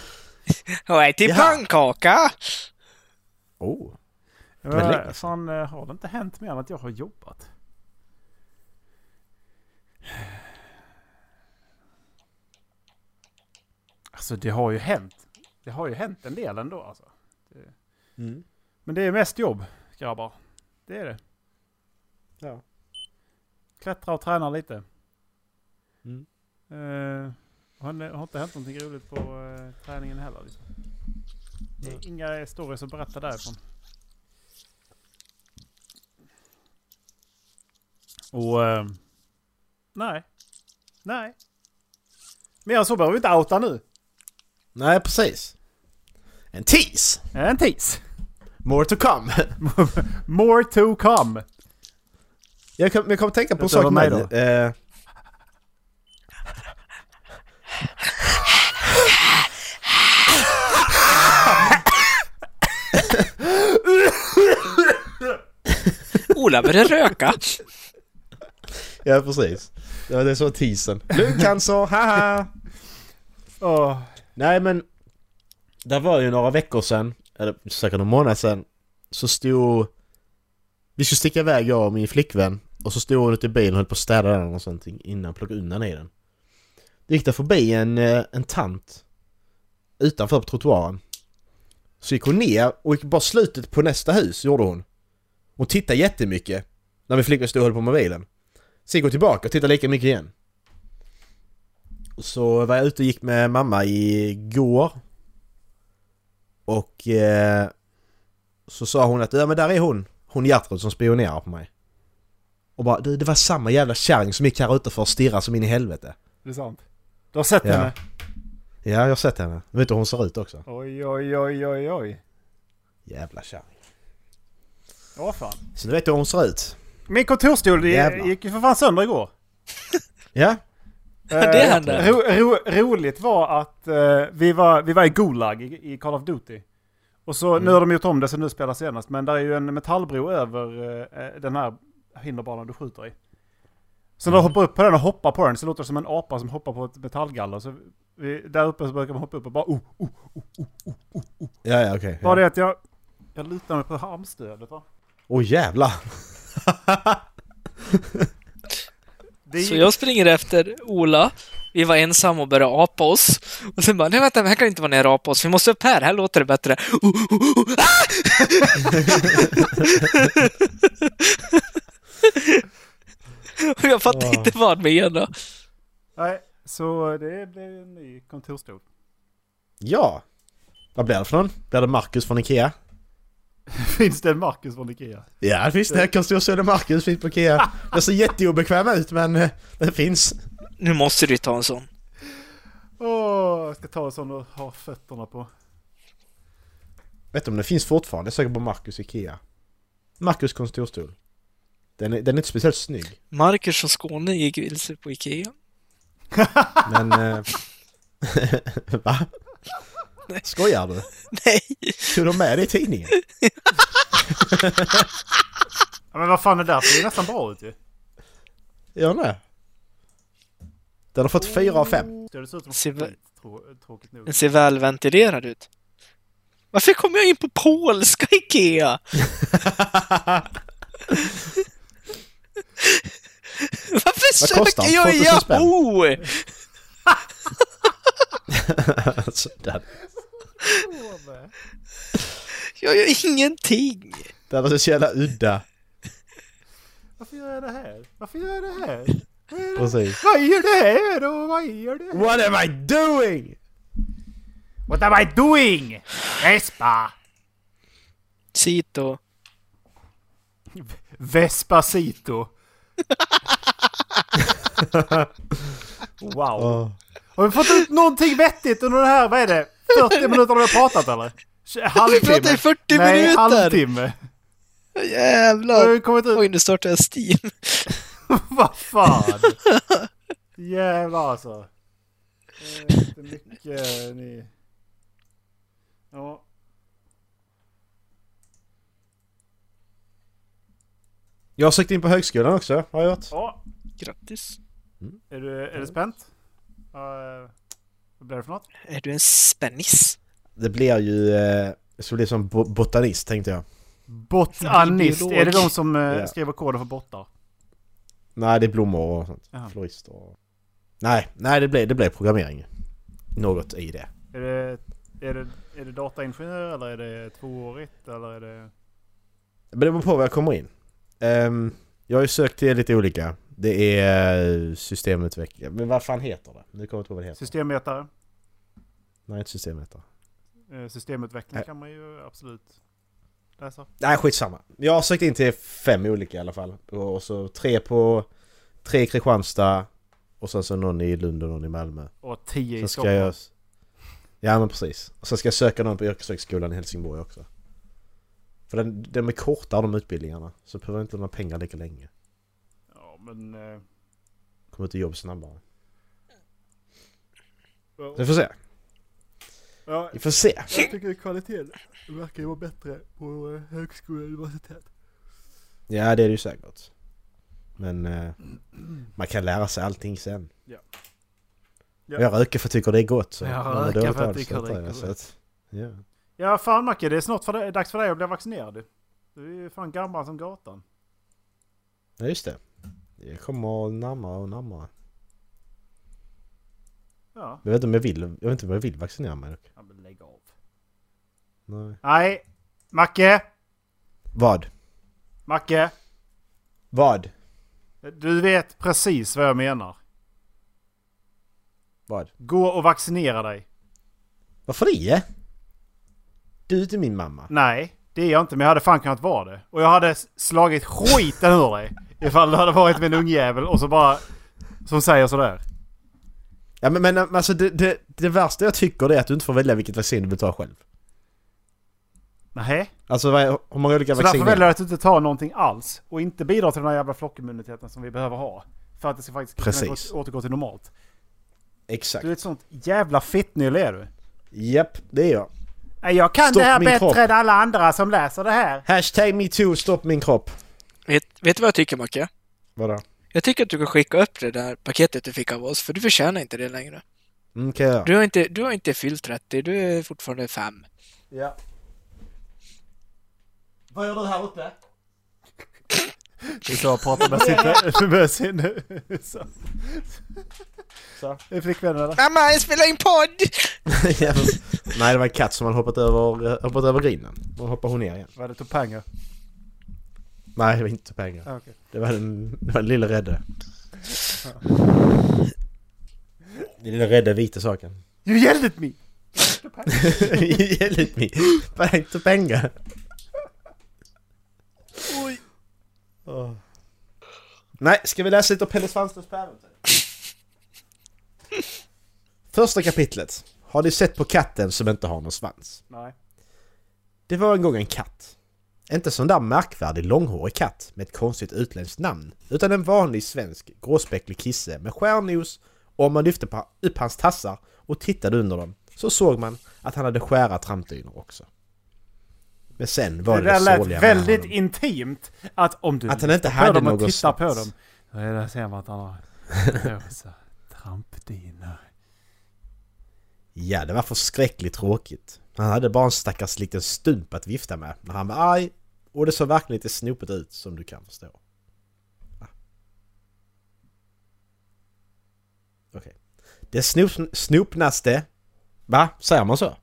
[SPEAKER 6] Jag äter
[SPEAKER 5] Ja.
[SPEAKER 6] pannkaka!
[SPEAKER 5] Oh. var länge
[SPEAKER 4] Men, fan, eh, har det inte hänt mer än att jag har jobbat? Alltså det har ju hänt. Det har ju hänt en del ändå alltså. Det...
[SPEAKER 5] Mm.
[SPEAKER 4] Men det är mest jobb, grabbar. Det är det.
[SPEAKER 5] Ja.
[SPEAKER 4] Klättra och träna lite.
[SPEAKER 5] Mm.
[SPEAKER 4] Eh, har, det har inte hänt någonting roligt på eh, träningen heller. Liksom. Det är inga stories att berätta därifrån. Och... eh, nej. Nej. Mer än så behöver vi inte outa nu.
[SPEAKER 5] Nej precis. En tease!
[SPEAKER 4] En tis.
[SPEAKER 5] More to come!
[SPEAKER 4] More to come.
[SPEAKER 5] Jag kom, jag kom att tänka på en
[SPEAKER 4] Utöver
[SPEAKER 5] sak
[SPEAKER 4] mig
[SPEAKER 5] med.
[SPEAKER 4] då?
[SPEAKER 5] Eh,
[SPEAKER 6] Ola börjar röka.
[SPEAKER 5] ja precis. Det var det som var teasern. Lungcancer, haha!
[SPEAKER 4] Åh.
[SPEAKER 5] Nej men, det var ju några veckor sedan, eller säkert någon månad sedan, så stod... Vi skulle sticka iväg jag och min flickvän, och så stod hon ute i bilen och höll på att städa den och sånt innan jag plockade undan i den. Då gick det förbi en, eh, en tant utanför på trottoaren. Så gick hon ner och gick bara slutet på nästa hus, gjorde hon. Hon tittade jättemycket när min flickvän stod och höll på med bilen. Sen gick hon tillbaka och tittade lika mycket igen. Så var jag ute och gick med mamma igår. Och eh, så sa hon att ja men där är hon. Hon Gertrud som spionerar på mig. Och bara du det var samma jävla kärring som gick här utanför och stirrade som in i helvete.
[SPEAKER 4] Det är sant. Du har sett
[SPEAKER 5] Ja.
[SPEAKER 4] henne?
[SPEAKER 5] Ja jag har sett henne. Vet du hur hon ser ut också?
[SPEAKER 4] Oj, oj, oj, oj, oj.
[SPEAKER 5] Jävla kärring.
[SPEAKER 4] Åh fan.
[SPEAKER 5] Så nu vet du hur hon ser ut.
[SPEAKER 4] Min kontorsstol det
[SPEAKER 5] Jävlar.
[SPEAKER 4] gick ju för fan sönder igår.
[SPEAKER 5] Ja? Eh,
[SPEAKER 6] det hände.
[SPEAKER 4] Ro, Eh, ro, roligt var att eh, vi, var, vi var i Gulag i, i Call of Duty. Och så,
[SPEAKER 6] Mm.
[SPEAKER 4] nu har de gjort om det så nu spelar senast, men där är ju en metallbro över eh, den här hinderbanan du skjuter i. Så
[SPEAKER 6] Mm.
[SPEAKER 4] när du hoppar upp på den och hoppar på den så låter det som en apa som hoppar på ett metallgaller. Så vi, där uppe så brukar man hoppa upp och bara oh, oh.
[SPEAKER 5] Ja, ja okej.
[SPEAKER 4] Bara
[SPEAKER 5] Ja.
[SPEAKER 4] det att jag, jag lutar mig på armstödet va?
[SPEAKER 5] Åh jävlar!
[SPEAKER 4] Det är
[SPEAKER 6] Så
[SPEAKER 4] ju-
[SPEAKER 6] jag springer efter Ola. Vi var ensamma och började apa oss. Och sen bara, nej vänta, men här kan det inte vara när jag apar oss. Vi måste upp här, här låter det bättre. Oh, oh, oh, ah! Och jag fattar
[SPEAKER 5] Åh.
[SPEAKER 6] inte vad han menade.
[SPEAKER 4] Nej, så det blev en ny kontorsstol.
[SPEAKER 5] Ja! Vad blir det för någon? Blir det Marcus från Ikea?
[SPEAKER 4] Finns det en Marcus från Ikea?
[SPEAKER 5] Ja, det finns det. Konståsöder Marcus finns på Ikea. Den ser jätteobekväm ut men eh, den finns.
[SPEAKER 6] Nu måste du ju ta en sån.
[SPEAKER 4] Åh, jag ska ta en sån och ha fötterna på.
[SPEAKER 5] Vet du om den finns fortfarande? Jag söker på Marcus Ikea. Marcus kontorstol. Den är, den är inte speciellt snygg.
[SPEAKER 6] Marcus från Skåne gick vilse på Ikea.
[SPEAKER 5] Men... eh, Va? Skojar du?
[SPEAKER 6] Nej,
[SPEAKER 5] Tog de med det i tidningen?
[SPEAKER 4] Ja, men vad fan är det där? Det ser nästan bra ut ju.
[SPEAKER 5] Gör den det? Den har fått fyra av fem.
[SPEAKER 4] Det ser ut som
[SPEAKER 6] Ser väl-
[SPEAKER 4] skit, trå- tråkigt nog.
[SPEAKER 6] den ser välventilerad ut. Varför kom jag in på polska Ikea? Varför
[SPEAKER 5] Vad kostar
[SPEAKER 6] söker
[SPEAKER 5] den?
[SPEAKER 6] jag
[SPEAKER 5] 2000 spänn?
[SPEAKER 6] Yahoo?
[SPEAKER 5] Alltså, den,
[SPEAKER 6] Jag gör ingenting.
[SPEAKER 5] den var så jävla udda.
[SPEAKER 4] Varför gör jag det här? Varför gör jag det här?
[SPEAKER 5] Precis.
[SPEAKER 4] Vad gör det här och vad gör det här?
[SPEAKER 5] What am I doing?
[SPEAKER 4] What am I doing? Vespa!
[SPEAKER 6] Sito.
[SPEAKER 4] Vespacito. wow.
[SPEAKER 5] Åh.
[SPEAKER 4] Har vi fått ut någonting vettigt under det här, vad är det? 40 minuter har vi pratat eller? Tj- Halvtimme?
[SPEAKER 6] Vi pratar i 40
[SPEAKER 4] Nej,
[SPEAKER 6] minuter.
[SPEAKER 4] halvtimme. Har vi
[SPEAKER 6] Jävlar.
[SPEAKER 4] kommit ut?
[SPEAKER 6] Oj, nu startar jag Steam.
[SPEAKER 4] Vad fan? Jävlar alltså. Det är inte mycket ni... Ja.
[SPEAKER 5] Jag har sökt in på högskolan också, har jag gjort.
[SPEAKER 4] ja.
[SPEAKER 6] Grattis.
[SPEAKER 4] Är du, är du spänt? Eh, vad blir det för något?
[SPEAKER 6] Är du en spennis?
[SPEAKER 5] Det blir ju... Eh, jag skulle bli som bo- botanist tänkte jag.
[SPEAKER 4] Botanist.
[SPEAKER 6] Biolog.
[SPEAKER 4] Är det de som eh,
[SPEAKER 5] Ja.
[SPEAKER 4] skriver koder för bottar?
[SPEAKER 5] Nej, det är blommor och sånt.
[SPEAKER 4] Jaha.
[SPEAKER 5] Florister och... Nej, nej det blev, det blev programmering. Något i det.
[SPEAKER 4] Är det, är, det, är det dataingenjör eller är det tvåårigt eller är det...
[SPEAKER 5] Men det beror på vad jag kommer in. Ehm, jag har ju sökt till lite olika. Det är eh, systemutveckling. Men vad fan heter det? Nu kommer jag inte på vad det heter.
[SPEAKER 4] Systemvetare?
[SPEAKER 5] nej, inte systemvetare.
[SPEAKER 4] Eh, Systemutveckling
[SPEAKER 5] Nej.
[SPEAKER 4] kan man ju absolut läsa.
[SPEAKER 5] Nej, skitsamma. Jag har sökt in till fem olika i alla fall. Och så tre på... Tre i Kristianstad. Och sen så någon i Lund och någon i Malmö.
[SPEAKER 4] Och 10 i
[SPEAKER 5] Sen ska
[SPEAKER 4] Stockholm.
[SPEAKER 5] jag... Ja men precis. Och sen ska jag söka någon på yrkeshögskolan i Helsingborg också. För den, de är kortare de utbildningarna. Så behöver jag inte några pengar lika länge.
[SPEAKER 4] Ja, men... eh,
[SPEAKER 5] Kommer ut i jobb snabbare. Så
[SPEAKER 4] ja,
[SPEAKER 5] vi får se.
[SPEAKER 4] ja,
[SPEAKER 5] Vi får se.
[SPEAKER 4] jag tycker kvaliteten verkar ju vara bättre på eh, högskola och universitet.
[SPEAKER 5] Ja det är det ju säkert. Men eh, man kan lära sig allting sen.
[SPEAKER 4] Ja.
[SPEAKER 5] Och Jag röker för jag tycker det är gott. Så
[SPEAKER 4] Jag
[SPEAKER 5] mår
[SPEAKER 4] röker
[SPEAKER 5] dåligt
[SPEAKER 4] för jag
[SPEAKER 5] av
[SPEAKER 4] tycker det är
[SPEAKER 5] så att-
[SPEAKER 4] gott.
[SPEAKER 5] så att- Ja.
[SPEAKER 4] Ja, fan Macke, det är snart för dig, dags för dig att bli vaccinerad. Du är ju fan gammal som gatan.
[SPEAKER 5] ja just det. Det kommer närmare och närmare.
[SPEAKER 4] Ja,
[SPEAKER 5] Jag vet inte om jag vill, jag vet inte om jag vill vaccinera mig dock.
[SPEAKER 4] ja men lägg av.
[SPEAKER 5] Nej.
[SPEAKER 4] Nej, Macke!
[SPEAKER 5] Vad?
[SPEAKER 4] Macke!
[SPEAKER 5] Vad?
[SPEAKER 4] Du vet precis vad jag menar.
[SPEAKER 5] Vad?
[SPEAKER 4] Gå och vaccinera dig.
[SPEAKER 5] Varför det? Du är inte min mamma.
[SPEAKER 4] Nej, det är jag inte, men jag hade fan kunnat vara det. Och jag hade s- slagit skiten ur dig. Ifall du hade varit min ungjävel och så bara... Som säger sådär.
[SPEAKER 5] Ja men, men alltså det, det, det värsta jag tycker det är att du inte får välja vilket vaccin du vill ta själv.
[SPEAKER 4] Nej.
[SPEAKER 5] Alltså vad är- hur många olika
[SPEAKER 4] Så därför
[SPEAKER 5] vacciner?
[SPEAKER 4] väljer jag att inte ta någonting alls och inte bidra till den här jävla flockimmuniteten som vi behöver ha. För att det ska faktiskt kunna
[SPEAKER 5] Precis.
[SPEAKER 4] gå- återgå till normalt.
[SPEAKER 5] Exakt.
[SPEAKER 4] Du är ett sånt jävla fittnylle är du.
[SPEAKER 5] Japp, det är jag.
[SPEAKER 4] Nej, Jag kan
[SPEAKER 5] Stopp
[SPEAKER 4] det här
[SPEAKER 5] min
[SPEAKER 4] bättre
[SPEAKER 5] kropp.
[SPEAKER 4] än alla andra som läser det här.
[SPEAKER 5] Hashtag metoo, stopp min kropp.
[SPEAKER 6] Vet, vet du vad jag tycker Macke?
[SPEAKER 5] Vadå?
[SPEAKER 6] Jag tycker att du kan skicka upp det där paketet du fick av oss, för du förtjänar inte det längre.
[SPEAKER 5] Mm, kan jag göra.
[SPEAKER 6] Du har inte, du har inte fyllt 30, du är fortfarande 5.
[SPEAKER 5] Ja. Vad gör du här uppe?
[SPEAKER 4] Det är så jag pratar med sin... Med sin så.
[SPEAKER 5] Så.
[SPEAKER 4] Är flickvännen eller?
[SPEAKER 6] Mamma, jag spelar in podd!
[SPEAKER 5] Nej, det var en katt som hade hoppat över, eh, hoppat över grinden. Och hoppade hon ner igen.
[SPEAKER 4] Var det Topanga?
[SPEAKER 5] Nej, det var inte pengar.
[SPEAKER 4] Ah, okej. Ah.
[SPEAKER 5] Det var den, det var den lilla rädde. Den lilla rädda vita saken.
[SPEAKER 4] You yelled at me!
[SPEAKER 5] Hjälp mig! Bara inte pengar. Oj. Ah. Nej, ska vi läsa lite om Pelle Svanslös päronten? Första kapitlet. Har ni sett på katten som inte har någon svans?
[SPEAKER 4] Nej.
[SPEAKER 5] Det var en gång en katt. Inte sån där märkvärdig långhårig katt med ett konstigt utländskt namn, utan en vanlig svensk gråspäcklig kisse med skärnos och om man lyfte på, upp hans tassar och tittade under dem så såg man att han hade skära trampdynor också. Men sen var
[SPEAKER 4] Det
[SPEAKER 5] det det,
[SPEAKER 4] där
[SPEAKER 5] sorgliga
[SPEAKER 4] lät
[SPEAKER 5] med
[SPEAKER 4] väldigt
[SPEAKER 5] honom.
[SPEAKER 4] intimt. Att om du
[SPEAKER 5] Att han inte
[SPEAKER 4] lyfter
[SPEAKER 5] hade
[SPEAKER 4] på dem och
[SPEAKER 5] någon
[SPEAKER 4] tittar på
[SPEAKER 5] svans.
[SPEAKER 4] dem. Då är det ser man att han har rosa trampdynor.
[SPEAKER 5] Ja, det var förskräckligt tråkigt. Han hade bara en stackars liten stump att vifta med när han var arg och det såg verkligen lite snopet ut som du kan förstå. Ah. Okej. Det snop, snopnaste... Va? Säger man så?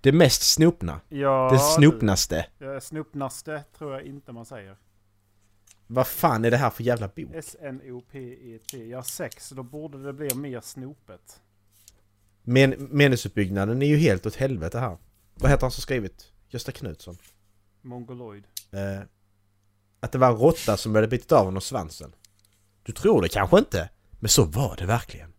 [SPEAKER 5] Det mest snopna?
[SPEAKER 4] Ja,
[SPEAKER 5] Det snopnaste?
[SPEAKER 4] du. Snopnaste tror jag inte man säger.
[SPEAKER 5] Vad fan är det här för jävla bok?
[SPEAKER 4] S-N-O-P-E-T. Ja, sex. Då borde det bli mer snopet.
[SPEAKER 5] Men, meningsuppbyggnaden är ju helt åt helvete här. Vad heter han som skrivit? Gösta Knutsson?
[SPEAKER 4] Mongoloid.
[SPEAKER 5] Eh, att det var en råtta som hade bitit av honom svansen. Du tror det kanske inte, men så var det verkligen.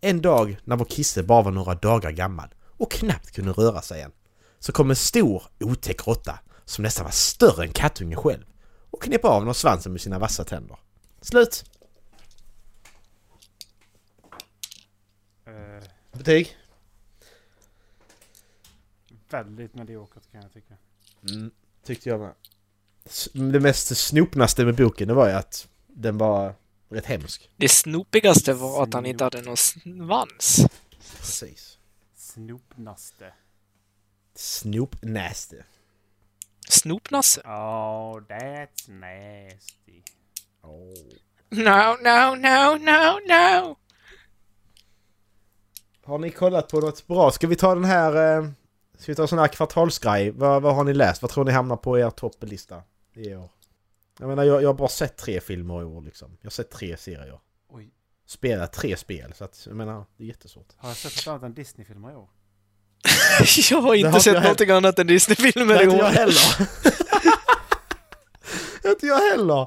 [SPEAKER 5] En dag när vår kisse bara var några dagar gammal och knappt kunde röra sig än, så kom en stor otäck råtta som nästan var större än kattungen själv och knep av honom svansen med sina vassa tänder. Slut!
[SPEAKER 4] Eh,
[SPEAKER 5] Betyg?
[SPEAKER 4] väldigt mediokert kan jag tycka.
[SPEAKER 5] Tyckte jag med. S- Det mest snopnaste med boken det var ju att den var rätt hemsk.
[SPEAKER 6] Det snopigaste var att han inte hade någon svans.
[SPEAKER 5] Precis.
[SPEAKER 4] Snopnaste.
[SPEAKER 5] Snopnäste.
[SPEAKER 6] Snopnasse?
[SPEAKER 4] Oh, that's nasty.
[SPEAKER 5] Oh.
[SPEAKER 6] No, no, no, no, no!
[SPEAKER 5] Har ni kollat på något bra? Ska vi ta den här... eh, Ska vi ta en sån här kvartalsgrej? Vad, vad har ni läst? Vad tror ni hamnar på er topplista i år? Jag menar, jag, jag har bara sett tre filmer i år liksom. Jag har sett tre serier.
[SPEAKER 4] Oj.
[SPEAKER 5] Spelat tre spel, så att jag menar, det är jättesvårt.
[SPEAKER 4] Har jag sett något annat än Disney-filmer i år?
[SPEAKER 6] Jag har inte
[SPEAKER 5] Det har inte jag
[SPEAKER 6] sett någonting annat än Disney-filmer
[SPEAKER 5] Nej,
[SPEAKER 6] i
[SPEAKER 5] inte jag
[SPEAKER 6] år.
[SPEAKER 5] heller! inte jag heller!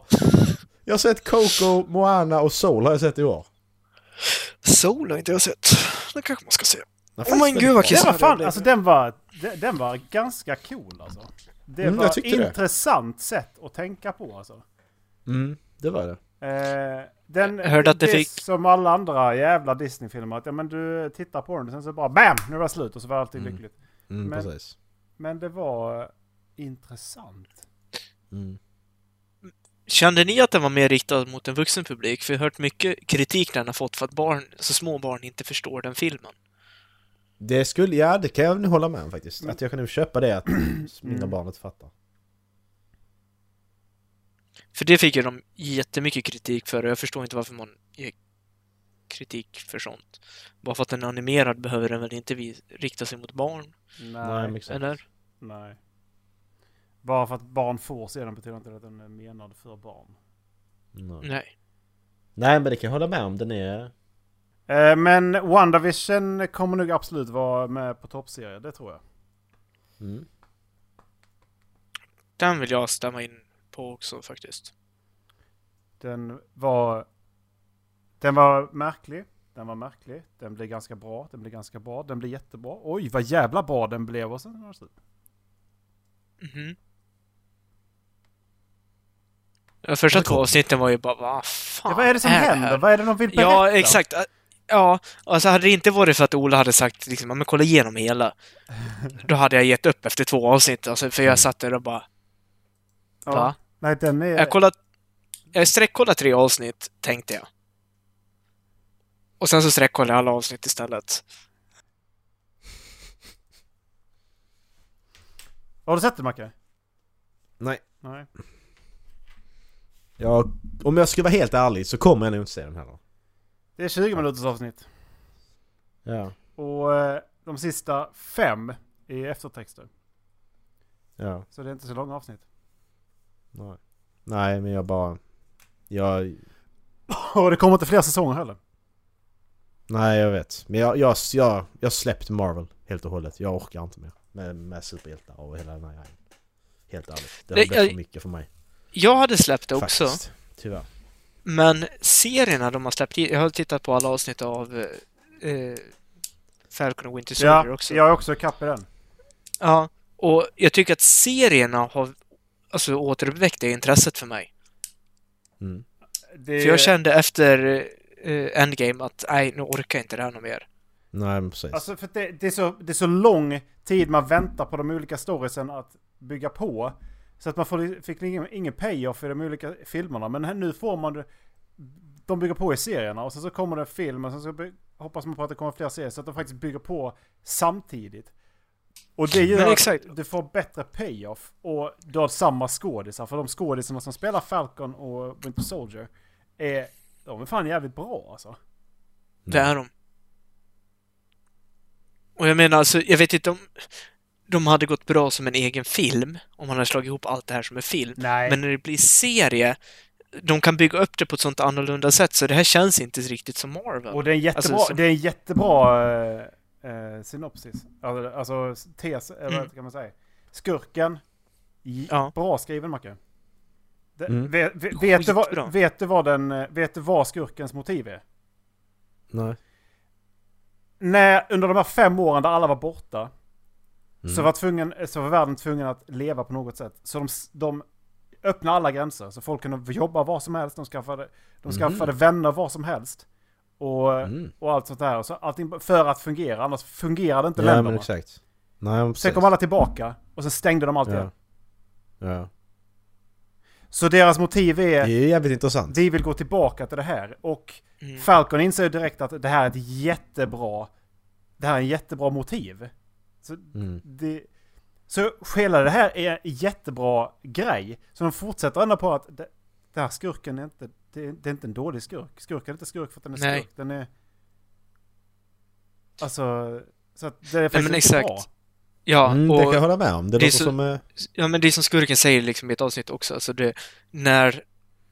[SPEAKER 5] Jag har sett Coco, Moana och Soul har jag sett i år.
[SPEAKER 6] Soul har inte jag sett. Det kanske man ska se.
[SPEAKER 5] Den
[SPEAKER 6] Åh
[SPEAKER 5] fanns
[SPEAKER 6] men
[SPEAKER 5] väl
[SPEAKER 6] gud vad
[SPEAKER 4] Den var
[SPEAKER 6] kissnödig jag
[SPEAKER 4] fan,
[SPEAKER 6] blev.
[SPEAKER 4] alltså den var, den, den var ganska cool alltså. Det
[SPEAKER 5] Mm, jag
[SPEAKER 4] var
[SPEAKER 5] tyckte det.
[SPEAKER 4] intressant sätt att tänka på alltså.
[SPEAKER 5] Mm, det var det.
[SPEAKER 4] Eh, den,
[SPEAKER 6] Jag hörde att det fick-
[SPEAKER 4] är som alla andra jävla Disney-filmer att ja men du tittar på den och sen så bara BAM! Nu var det slut och så var allt
[SPEAKER 5] Mm.
[SPEAKER 4] lyckligt.
[SPEAKER 5] Mm,
[SPEAKER 4] Men-
[SPEAKER 5] precis.
[SPEAKER 4] Men det var eh, intressant.
[SPEAKER 5] Mm.
[SPEAKER 6] Kände ni att den var mer riktad mot en vuxen publik? För jag har hört mycket kritik den har fått för att barn, så små barn inte förstår den filmen.
[SPEAKER 5] Det skulle, ja det kan jag nog hålla med om faktiskt.
[SPEAKER 4] Mm.
[SPEAKER 5] Att jag kan nog köpa det att mina barn inte fattar.
[SPEAKER 6] För det fick ju de jättemycket kritik för och jag förstår inte varför man ger kritik för sånt. Bara för att den är animerad behöver den väl inte vi- rikta sig mot barn,
[SPEAKER 5] Nej,
[SPEAKER 4] Nej,
[SPEAKER 5] men exakt.
[SPEAKER 6] eller?
[SPEAKER 4] nej. Bara för att barn får se den betyder inte det att den är menad för barn. Mm.
[SPEAKER 5] Nej.
[SPEAKER 6] Nej.
[SPEAKER 5] Nej men det kan jag hålla med om, den är...
[SPEAKER 4] Eh, men WandaVision kommer nog absolut vara med på toppserie, det tror jag.
[SPEAKER 5] Mm.
[SPEAKER 6] Den vill jag stämma in på också faktiskt.
[SPEAKER 4] Den var... Den var märklig. Den var märklig. Den blev ganska bra. Den blev ganska bra. Den blev jättebra. Oj, vad jävla bra den blev. Och sen var det slut.
[SPEAKER 6] Mhm. De första två avsnitten var ju bara vad fan
[SPEAKER 4] Ja, vad är det som
[SPEAKER 6] här?"
[SPEAKER 4] händer? Vad är det de vill berätta?
[SPEAKER 6] Ja, exakt. Ja, alltså hade det inte varit för att Ola hade sagt liksom, "Ja, men kolla igenom hela, då hade jag gett upp efter två avsnitt. Alltså, för jag satt där och bara,
[SPEAKER 4] Ja.
[SPEAKER 6] va?
[SPEAKER 4] Nej, den är...
[SPEAKER 6] Jag kollat, jag sträckkollade tre avsnitt, tänkte jag. Och sen så sträckkollade jag alla avsnitt istället.
[SPEAKER 4] Har du sett det Macke?
[SPEAKER 5] Nej.
[SPEAKER 4] Nej.
[SPEAKER 5] Jag, om jag ska vara helt ärlig så kommer jag nog inte se den heller.
[SPEAKER 4] Det är 20 minuters avsnitt.
[SPEAKER 5] Ja.
[SPEAKER 4] Och eh, de sista fem är eftertexter.
[SPEAKER 5] Ja.
[SPEAKER 4] Så det är inte så långa avsnitt.
[SPEAKER 5] Nej. Nej men jag bara... Jag...
[SPEAKER 4] Och det kommer inte fler säsonger heller.
[SPEAKER 5] Nej jag vet. Men jag, jag, jag, jag släppte Marvel helt och hållet. Jag orkar inte mer. Med, med superhjältar och hela den här grejen. Helt ärligt. Det har
[SPEAKER 6] Nej,
[SPEAKER 5] blivit för
[SPEAKER 6] jag-
[SPEAKER 5] mycket för mig.
[SPEAKER 6] Jag hade släppt det också,
[SPEAKER 5] Faktiskt. Tyvärr.
[SPEAKER 6] men serierna de har släppt, jag har tittat på alla avsnitt av eh, Falcon och Winter Soldier
[SPEAKER 4] Ja,
[SPEAKER 6] också.
[SPEAKER 4] jag är också ikapp i den.
[SPEAKER 6] Ja, och jag tycker att serierna har alltså, återuppväckt det intresset för mig.
[SPEAKER 5] Mm.
[SPEAKER 4] Det...
[SPEAKER 6] För jag kände efter eh, Endgame att nej, nu orkar jag inte det här något mer.
[SPEAKER 5] Nej men precis.
[SPEAKER 4] Alltså för att det, det, är så, det är så lång tid man väntar på de olika storiesen att bygga på. Så att man får, fick ingen, ingen payoff i de olika filmerna. Men här, nu får man det- De bygger på i serierna och sen så kommer det en film och sen så by- hoppas man på att det kommer fler serier. Så att de faktiskt bygger på samtidigt. Och det gör
[SPEAKER 6] Men
[SPEAKER 4] att
[SPEAKER 6] exakt.
[SPEAKER 4] du får bättre payoff och du har samma skådisar. För de skådisarna som spelar Falcon och Winter Soldier är... De är fan jävligt bra alltså.
[SPEAKER 6] Det
[SPEAKER 4] Mm.
[SPEAKER 6] är de. Och jag menar alltså, jag vet inte om de hade gått bra som en egen film om man hade slagit ihop allt det här som en film.
[SPEAKER 4] Nej.
[SPEAKER 6] Men när det blir serie, de kan bygga upp det på ett sånt annorlunda sätt så det här känns inte riktigt som Marvel.
[SPEAKER 4] Och det är en jättebra,
[SPEAKER 6] Alltså, som-
[SPEAKER 4] det är en jättebra eh, eh, synopsis. Alltså, alltså tes, eller
[SPEAKER 6] Mm.
[SPEAKER 4] vad kan man säga? Skurken, j-
[SPEAKER 6] Ja.
[SPEAKER 4] bra skriven Macke. Det,
[SPEAKER 5] Mm.
[SPEAKER 4] vet, vet, vet, du
[SPEAKER 6] Skitbra.
[SPEAKER 4] vad, vet, du vad den, eh, vet du vad skurkens motiv är?
[SPEAKER 5] Nej.
[SPEAKER 4] När, under de här fem åren där alla var borta
[SPEAKER 5] Mm.
[SPEAKER 4] så, var tvungen, så var världen tvungen att leva på något sätt. Så de, s- de öppnade alla gränser. Så folk kunde jobba var som helst. De skaffade, de skaffade vänner var som helst. Och,
[SPEAKER 5] Mhm. Mm.
[SPEAKER 4] och allt sånt där. Och Så allting för att fungera. Annars fungerade inte
[SPEAKER 5] Ja men
[SPEAKER 4] länderna.
[SPEAKER 5] exakt. Nej men
[SPEAKER 4] Sen
[SPEAKER 5] precis.
[SPEAKER 4] kom alla tillbaka och sen stängde de allt igen.
[SPEAKER 5] Ja. Ja.
[SPEAKER 4] Så deras motiv
[SPEAKER 5] Det är
[SPEAKER 4] är
[SPEAKER 5] ju jävligt intressant.
[SPEAKER 4] vi vill gå tillbaka till det här. Och
[SPEAKER 6] Mm.
[SPEAKER 4] Falcon inser ju direkt att det här är ett jättebra, det här är en jättebra motiv. Så
[SPEAKER 5] Mm.
[SPEAKER 4] det, så hela det här är en jättebra grej. Så de fortsätter ändå på att det, den här skurken är inte, det, det är inte en dålig skurk. Skurken är inte skurk för att den är
[SPEAKER 6] Nej.
[SPEAKER 4] skurk. Den är... Alltså, så att det är faktiskt
[SPEAKER 6] men
[SPEAKER 4] inte
[SPEAKER 6] exakt.
[SPEAKER 4] bra.
[SPEAKER 6] Ja,
[SPEAKER 5] Mm, det kan
[SPEAKER 6] och,
[SPEAKER 5] jag hålla med om. Det,
[SPEAKER 6] det är
[SPEAKER 5] låter
[SPEAKER 6] så-
[SPEAKER 5] som... eh,
[SPEAKER 6] ja, men det är som skurken säger liksom i ett avsnitt också, alltså det, när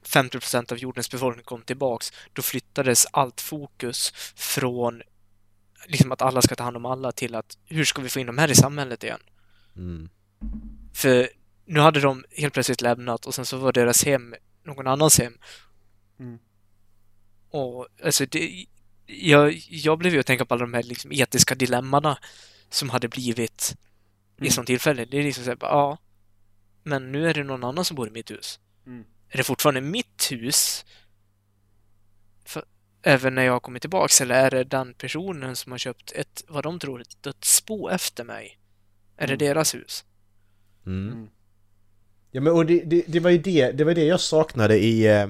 [SPEAKER 6] 50% av jordens befolkning kom tillbaks, då flyttades allt fokus från liksom att alla ska ta hand om alla till att hur ska vi få in de här i samhället igen?
[SPEAKER 5] Mm.
[SPEAKER 6] För nu hade de helt plötsligt lämnat och sen så var deras hem någon annans hem.
[SPEAKER 4] Mm.
[SPEAKER 6] Och alltså det, jag, jag blev ju att tänka på alla de här liksom etiska dilemmana som hade blivit i
[SPEAKER 4] Mm.
[SPEAKER 6] sånt tillfälle. Det är liksom såhär, ja, men nu är det någon annan som bor i mitt hus.
[SPEAKER 4] Mm.
[SPEAKER 6] Är det fortfarande mitt hus? För, även när jag har kommit tillbaks eller är det den personen som har köpt ett, vad de tror, ett dödsbo efter mig? Är det deras hus?
[SPEAKER 5] Mm.
[SPEAKER 4] Mm.
[SPEAKER 5] Ja men och det, det, det var ju det, det var det jag saknade i... eh,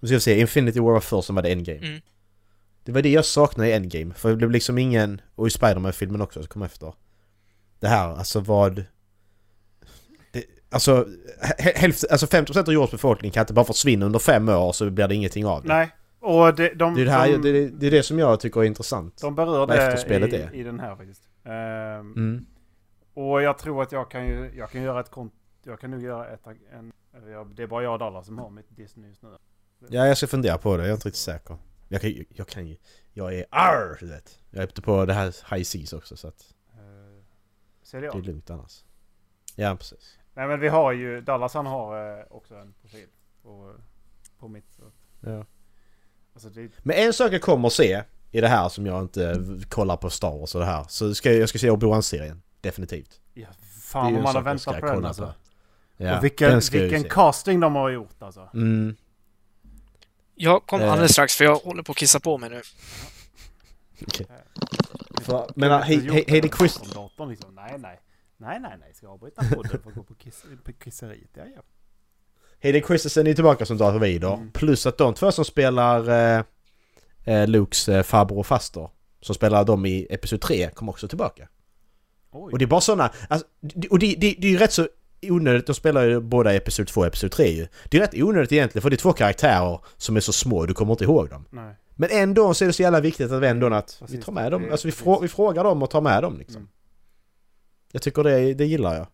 [SPEAKER 5] Nu ska vi se, Infinity War var först som hade Endgame.
[SPEAKER 6] Mm.
[SPEAKER 5] Det var det jag saknade i Endgame, för det blev liksom ingen... Och i Spiderman-filmen också som kom efter. Det här, alltså vad... Det, alltså, hä- hälften, alltså 50% av jordens befolkning kan inte bara försvinna under fem år så blir det ingenting av det.
[SPEAKER 4] Nej, och det, de,
[SPEAKER 5] Det är det, här,
[SPEAKER 4] de,
[SPEAKER 5] det, är- det är det som jag tycker är intressant.
[SPEAKER 4] de berör
[SPEAKER 5] vad
[SPEAKER 4] det
[SPEAKER 5] efterspelet
[SPEAKER 4] i,
[SPEAKER 5] är.
[SPEAKER 4] i den här faktiskt. Ehm,
[SPEAKER 5] Mm.
[SPEAKER 4] Och jag tror att jag kan ju, jag kan göra ett kont... Jag kan nog göra ett... En, jag- det är bara jag och Dallas som har mitt Disney just nu.
[SPEAKER 5] Ja, jag ska fundera på det. Jag är inte riktigt säker. Jag kan, ju- jag kan ju... Jag är arr, du vet. Jag är ute på det här High Seas också så att
[SPEAKER 4] Ehm, ser jag.
[SPEAKER 5] det är lugnt annars. Ja, precis.
[SPEAKER 4] Nej men vi har ju, Dallas han har eh, också en profil på, på mitt. Så.
[SPEAKER 5] Ja.
[SPEAKER 4] Alltså det,
[SPEAKER 5] Men en sak jag kommer att se i det här som jag inte v- kollar på Star Wars och det här. Så ska jag, jag ska se Obi-Wan-serien. Definitivt.
[SPEAKER 4] ja,
[SPEAKER 5] Det är
[SPEAKER 4] fan
[SPEAKER 5] ju
[SPEAKER 4] vad man har
[SPEAKER 5] en sak jag
[SPEAKER 4] väntat
[SPEAKER 5] ska
[SPEAKER 4] på den
[SPEAKER 5] kolla
[SPEAKER 4] alltså.
[SPEAKER 5] Ja,
[SPEAKER 4] och vilken,
[SPEAKER 5] den ska jag ju
[SPEAKER 4] vilken
[SPEAKER 5] se.
[SPEAKER 4] casting de har gjort alltså.
[SPEAKER 5] Mm.
[SPEAKER 6] Jag kommer
[SPEAKER 5] Eh.
[SPEAKER 6] alldeles strax för jag håller på att kissa på mig nu.
[SPEAKER 5] För, men äh, he, he, Hailey Christ...
[SPEAKER 4] Som datorn liksom. Nej, nej. Nej, nej, nej. Ska jag avbryta podden för att gå på, kiss, på kisseriet? Ja, ja.
[SPEAKER 5] Hayden Christensen är ju tillbaka som Darth Vader. Plus att de två som spelar eh, eh, Lukes eh, farbror och faster, som spelar dem i Episod 3, kommer också tillbaka.
[SPEAKER 4] Oj.
[SPEAKER 5] Och det är bara sådana... Alltså, d- och det, det, det är ju rätt så onödigt, de spelar ju båda i Episod 2 och Episod 3 ju. Det är rätt onödigt egentligen för det är två karaktärer som är så små, du kommer inte ihåg dem.
[SPEAKER 4] Nej.
[SPEAKER 5] Men ändå så är det så jävla viktigt att vi ändå att vi
[SPEAKER 4] Precis,
[SPEAKER 5] tar med dem.
[SPEAKER 4] det- Mm.
[SPEAKER 5] Alltså vi, frå, vi frågar dem och tar med dem liksom. Jag tycker det, det gillar jag.